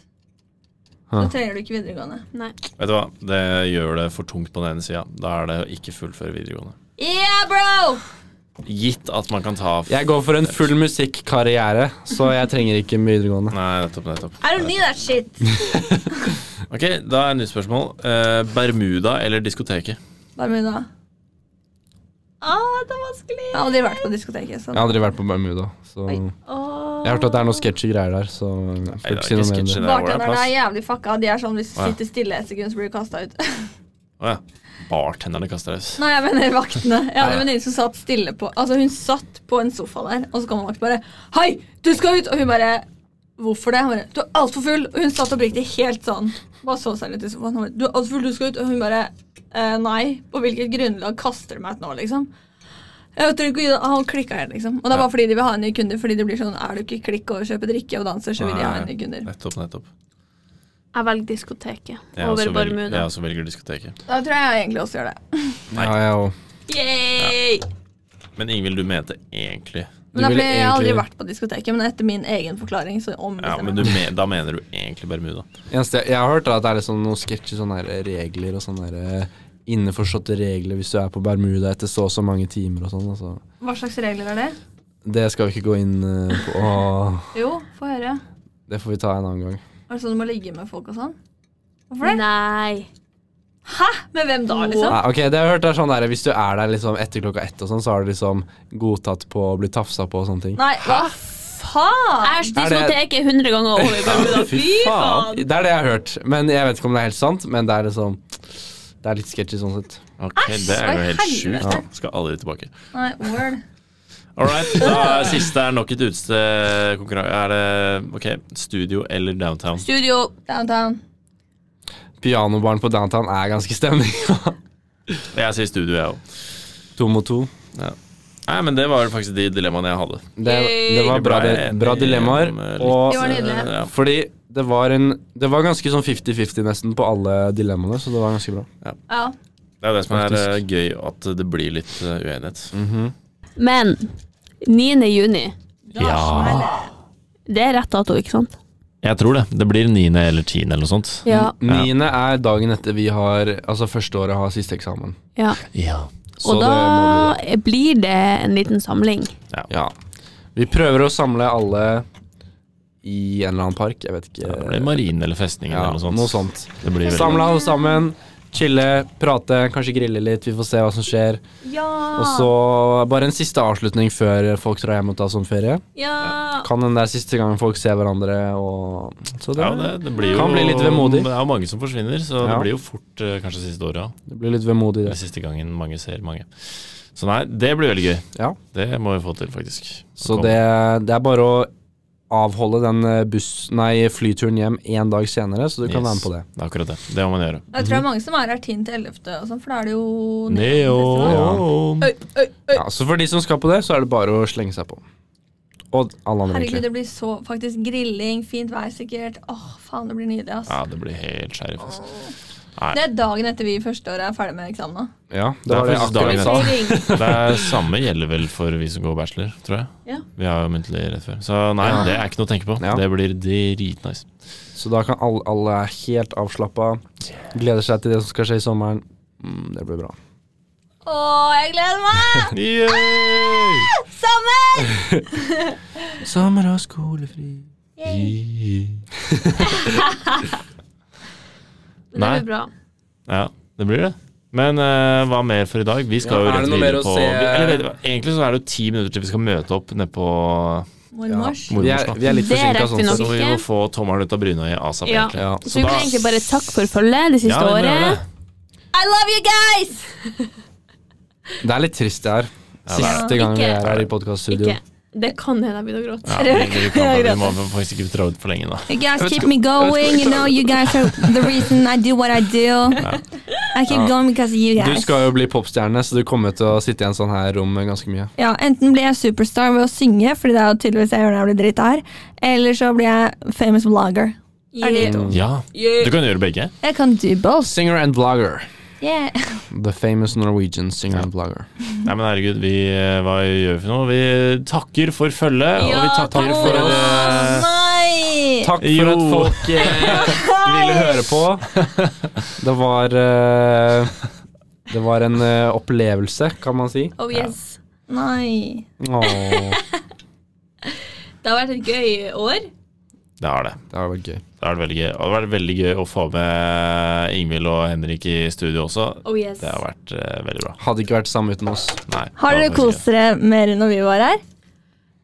Speaker 4: Da
Speaker 3: Hæ.
Speaker 4: trenger du ikke videregående.
Speaker 2: Nei.
Speaker 1: Vet du hva, det gjør det for tungt på den ene sida. Da er det å ikke fullføre videregående.
Speaker 4: Yeah, bro!
Speaker 1: Gitt at man kan ta
Speaker 3: Jeg går for en full musikkarriere, så jeg trenger ikke videregående.
Speaker 1: Nei, nettopp, nettopp.
Speaker 4: I don't need that shit.
Speaker 1: Ok, da er nytt spørsmål. Eh, Bermuda eller diskoteket?
Speaker 4: Bermuda.
Speaker 2: Ah, det er vanskelig.
Speaker 4: Jeg har aldri vært på diskoteket. Så.
Speaker 3: Jeg har aldri vært på Bermuda, så
Speaker 4: Oi.
Speaker 3: Jeg
Speaker 2: Åh.
Speaker 3: har hørt at det er noen sketchy greier der, så jeg
Speaker 1: Nei,
Speaker 3: får
Speaker 1: det er
Speaker 3: ikke si
Speaker 1: ikke
Speaker 3: noe mer om
Speaker 1: sketchy, det
Speaker 3: det.
Speaker 1: er
Speaker 4: Bartenderne er
Speaker 1: wallpass.
Speaker 4: jævlig fucka. De er sånn hvis
Speaker 1: Å,
Speaker 4: du
Speaker 1: ja.
Speaker 4: sitter stille et sekund, så blir du kasta ut.
Speaker 1: Å ja. Bartenderne kaster deg ut.
Speaker 4: Nei, jeg mener vaktene. Jeg hadde
Speaker 1: Ja.
Speaker 4: en venninne som satt stille på Altså, hun satt på en sofa der, og så kom en vakt bare Hei, du skal ut! Og hun bare Hvorfor det? Han bare, Du er altfor full! Og hun satt oppriktig helt sånn. Bare så seg litt i sofaen. Han bare, du er altfor full, du skal ut! Og hun bare eh, Nei. På hvilket grunnlag kaster du meg ut nå, liksom? Jeg vet ikke, og Han klikka helt, liksom. Og det er bare fordi de vil ha nye kunder. Fordi det blir sånn Er du ikke klikk og kjøper drikke og danser, så vil de ha
Speaker 1: Nei.
Speaker 4: nye kunder.
Speaker 1: Nettopp, nettopp.
Speaker 2: Jeg velger diskoteket
Speaker 1: Jeg
Speaker 2: over
Speaker 1: også velger,
Speaker 2: Bermuda.
Speaker 1: jeg også velger diskoteket.
Speaker 4: Da tror jeg egentlig også gjør det.
Speaker 1: Nei.
Speaker 3: Ja, jeg òg.
Speaker 2: Yay!
Speaker 1: Men Ingvild, du mente egentlig
Speaker 4: Men
Speaker 3: Du
Speaker 4: da
Speaker 3: ville
Speaker 4: ble jeg har aldri
Speaker 3: egentlig-
Speaker 4: vært på diskoteket, men etter min egen forklaring, så liksom
Speaker 1: Ja,
Speaker 4: ombestemmer
Speaker 1: men du men, da mener du egentlig Bermuda.
Speaker 3: Eneste jeg, jeg har hørt, er at det er litt sånn noen sketchy sånne her regler og sånne her eh, innforståtte regler hvis du er på Bermuda etter så og så mange timer og sånn. Altså.
Speaker 4: Hva slags regler er det?
Speaker 3: Det skal vi ikke gå inn eh, på. Åh,
Speaker 4: Jo, få høre.
Speaker 3: det får vi ta en annen gang.
Speaker 4: Er det sånn du må ligge med folk og sånn? Hvorfor det?
Speaker 2: Nei.
Speaker 4: Med hvem da, liksom?
Speaker 3: Nei, ok, det jeg har hørt er sånn der, Hvis du er der liksom etter klokka ett, og sånn, så har du liksom godtatt på å bli tafsa på og sånne ting.
Speaker 4: Nei, hva faen?
Speaker 2: Æsj, diskoteket er 100 ganger over Bermuda. Fy faen!
Speaker 3: Det er det jeg har hørt, men jeg vet ikke om det er helt sant. Men det er liksom Det er litt sketchy sånn sett.
Speaker 1: Ok, Det er
Speaker 4: hva
Speaker 1: jo
Speaker 4: i
Speaker 1: helt
Speaker 4: helvete?
Speaker 1: sjukt. Skal aldri tilbake.
Speaker 4: Nei, word.
Speaker 1: All right, da er siste er nok et utested konkurranse. Er det ok, studio eller downtown?
Speaker 2: Studio.
Speaker 4: Downtown.
Speaker 3: Pianobaren på downtown er ganske stemning.
Speaker 1: Jeg sier studio, jeg òg.
Speaker 3: to mot to.
Speaker 1: Nei, men det var faktisk de dilemmaene jeg hadde.
Speaker 3: Det, det var bra, det, bra dilemmaer.
Speaker 4: Det var
Speaker 3: Og
Speaker 4: nydelig.
Speaker 1: Ja,
Speaker 3: fordi det var en Det var ganske sånn 50-50 nesten på alle dilemmaene, så det var ganske bra.
Speaker 4: Ja.
Speaker 1: det er jo det som er eh,
Speaker 3: Faktisk.
Speaker 1: gøy, at det blir litt eh, uenighet.
Speaker 2: Men 9. juni.
Speaker 1: Ja.
Speaker 2: Det er rett dato, ikke sant?
Speaker 1: Jeg tror det. Det blir niende eller tiende eller noe sånt.
Speaker 2: Ja.
Speaker 3: Niende er dagen etter vi har Altså første året har siste eksamen.
Speaker 2: ja.
Speaker 1: Ja.
Speaker 2: Og
Speaker 3: Så det må
Speaker 2: da blir det en liten samling.
Speaker 3: vi Ja. Vi prøver å samle alle i en eller annen park. Jeg vet ikke.
Speaker 1: Det blir marinen eller festningen
Speaker 3: Ja,
Speaker 1: eller noe sånt.
Speaker 3: noe sånt.
Speaker 1: Det blir veldig-
Speaker 3: Samle alle sammen, chille, prate, kanskje grille litt. Vi får se hva som skjer.
Speaker 4: Ja.
Speaker 3: Og så bare en siste avslutning før folk drar hjem og tar sommerferie.
Speaker 2: Ja.
Speaker 3: Kan den der siste gangen folk ser hverandre og Så det,
Speaker 1: Ja, det, det blir jo,
Speaker 3: Kan bli litt vemodig.
Speaker 1: Det er jo mange som forsvinner, så det
Speaker 3: Ja.
Speaker 1: blir jo fort eh, kanskje siste året. Ja.
Speaker 3: det blir litt vemodig,
Speaker 1: Eller
Speaker 3: det.
Speaker 1: siste gangen mange ser mange. Så nei, det blir veldig gøy.
Speaker 3: Ja.
Speaker 1: Det må vi få til, faktisk.
Speaker 3: Så det, det er bare å avholde den eh, buss, nei, flyturen hjem én dag senere, så du kan være med på det.
Speaker 1: Det er akkurat det. Det må man gjøre.
Speaker 4: Jeg tror det er mange som er her 10. til 11. og sånn, for da er det jo
Speaker 1: Neon.
Speaker 4: Øy, øy, øy.
Speaker 3: Ja, så for de som skal på det, så er det bare å slenge seg på. Og alle andre,
Speaker 4: Herregud,
Speaker 3: egentlig.
Speaker 4: det blir så faktisk grilling, fint vær sikkert. Åh, faen, det blir nydelig, ass.
Speaker 1: Ja, det blir helt skjerf. Altså. Nei.
Speaker 6: Det er dagen etter vi i første året er ferdig med eksamena.
Speaker 3: Ja,
Speaker 1: Det er
Speaker 3: det var det jeg
Speaker 1: faktisk dagen
Speaker 3: akkurat sa.
Speaker 6: Feiring.
Speaker 1: Det er samme gjelder vel for vi som går bachelor, tror jeg.
Speaker 2: Ja.
Speaker 1: Vi har jo muntlig rett før. Så nei,
Speaker 3: Ja.
Speaker 1: det er ikke noe å tenke på.
Speaker 3: Ja.
Speaker 1: Det blir dritnice.
Speaker 3: Så da kan alle, alle er helt avslappa. Gleder seg til det som skal skje i sommeren. Mm, det blir bra.
Speaker 6: Å, jeg gleder meg!
Speaker 1: Yay!
Speaker 6: Sommer!
Speaker 3: Sommer og skolefri.
Speaker 2: Men det
Speaker 1: Nei.
Speaker 2: blir bra.
Speaker 1: Ja, det blir det. Men eh, hva mer for i dag? Vi skal
Speaker 3: Ja,
Speaker 1: jo
Speaker 3: er det
Speaker 1: rett
Speaker 3: noe mer
Speaker 1: videre
Speaker 3: å
Speaker 1: på
Speaker 3: se? eh?
Speaker 1: vi, eller, vet du hva, Egentlig så er det jo ti minutter til vi skal møte opp nede på
Speaker 6: Mormors.
Speaker 3: Vi er, vi er litt
Speaker 2: Det
Speaker 3: forsinka
Speaker 2: rekker vi
Speaker 3: sånn
Speaker 2: nok.
Speaker 1: Så vi
Speaker 2: ikke.
Speaker 1: må få tommelen ut av Brynøy asap,
Speaker 2: Ja.
Speaker 1: egentlig.
Speaker 3: Ja.
Speaker 2: Så vi kan egentlig bare takke for følget det siste
Speaker 1: Ja, vi må gjøre
Speaker 2: året.
Speaker 1: det.
Speaker 6: I love you guys!
Speaker 3: Det er litt trist det her.
Speaker 1: Ja, det er
Speaker 3: Siste gang vi
Speaker 2: Ikke-
Speaker 3: er her i
Speaker 2: Ikke.
Speaker 3: podkaststudio.
Speaker 2: Det kan hende jeg begynner å gråte.
Speaker 1: Ja, vi, vi, kan, vi må faktisk ikke dra ut for lenge, da.
Speaker 4: You guys keep me going. You know, you guys are the reason I do what I do. I
Speaker 1: Uh,
Speaker 4: keep going because of you
Speaker 3: Du
Speaker 4: guys.
Speaker 3: skal jo bli popstjerne, så du kommer til å sitte i en sånn her rom ganske mye.
Speaker 4: Ja, enten blir jeg superstar ved å synge, fordi det er jo tydeligvis jeg gjør når jeg blir drita her, eller så blir jeg famous vlogger. Er det to?
Speaker 1: Ja, Du kan gjøre begge.
Speaker 4: Jeg kan do both.
Speaker 3: Oh, Singer and blogger.
Speaker 4: Yeah.
Speaker 3: The famous Norwegian singer and blogger.
Speaker 1: Nei, men herregud, vi, eh, hva gjør vi for noe? Vi takker for følget, og vi
Speaker 2: Ja,
Speaker 1: takker
Speaker 2: takk
Speaker 1: for
Speaker 2: for oss.
Speaker 1: eh,
Speaker 4: Nei!
Speaker 3: Takk for
Speaker 1: Jo.
Speaker 3: at folk eh, ville høre på. Det var eh, Det var en eh, opplevelse, kan man si.
Speaker 2: Oh yes.
Speaker 4: Nei.
Speaker 3: Åh, det
Speaker 2: Det har vært et gøy år.
Speaker 1: Det har det.
Speaker 3: var gøy.
Speaker 1: Det har vært veldig gøy. Og det har vært veldig gøy å få med eh, Ingvild og Henrik i studio også.
Speaker 2: Oh yes.
Speaker 1: Det har vært eh, veldig bra.
Speaker 3: Hadde ikke vært samme uten oss.
Speaker 1: Nei,
Speaker 4: Har
Speaker 1: det
Speaker 4: dere
Speaker 1: var faktisk
Speaker 4: kost dere mer når vi var her?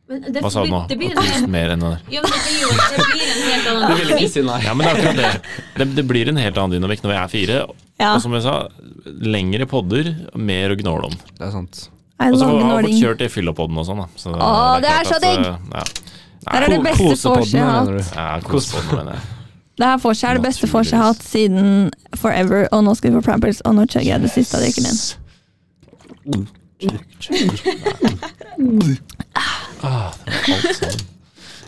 Speaker 2: Men det,
Speaker 1: ikke- Hva sa du nå?
Speaker 2: Det blir, det blir, en,
Speaker 1: Kost mer enn det der.
Speaker 2: ja, men det blir jo det blir en helt annen dynamikk.
Speaker 3: si nei.
Speaker 1: Ja, men det er akkurat det. det. Det blir en helt annen dynamikk når vi er fire.
Speaker 4: Ja.
Speaker 1: Og som jeg sa, lengre podder, mer å gnåle om.
Speaker 3: Det er sant.
Speaker 4: I
Speaker 1: Og så har
Speaker 4: love
Speaker 1: vi fått
Speaker 4: gnåling.
Speaker 1: kjørt det i fyllapodden og sånn, da. Så
Speaker 4: Åh, det er
Speaker 1: klart
Speaker 4: så digg!
Speaker 1: eh, Ja.
Speaker 4: Det er det
Speaker 3: Ko-
Speaker 4: beste vorset jeg har
Speaker 3: kosepodden,
Speaker 4: hatt.
Speaker 3: mener du?
Speaker 1: Ja, kosepodden, mener jeg.
Speaker 4: Det her vorset er det beste vorset jeg har hatt siden forever, og nå skal vi få Pampers, og nå chugger jeg det siste av drikken min.
Speaker 1: Ah, det var alt sammen.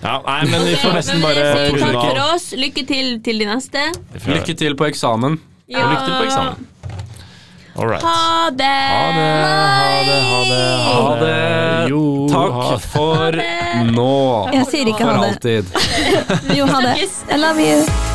Speaker 1: Ja, nei, men vi
Speaker 2: Ok,
Speaker 1: får nesten
Speaker 2: men
Speaker 1: bare
Speaker 2: vi sier
Speaker 1: runde
Speaker 2: Takk for
Speaker 1: av.
Speaker 2: oss. Lykke til til de neste.
Speaker 1: Vi får-
Speaker 3: Lykke til på eksamen.
Speaker 1: og Lykke til på eksamen. All right.
Speaker 2: Ha det.
Speaker 1: Ha det, ha det, ha det.
Speaker 3: Ha det.
Speaker 1: Jo, ha
Speaker 3: Takk for nå.
Speaker 4: Jeg sier ikke
Speaker 3: For
Speaker 4: ha det.
Speaker 3: alltid.
Speaker 4: Jo, ha det. I love you.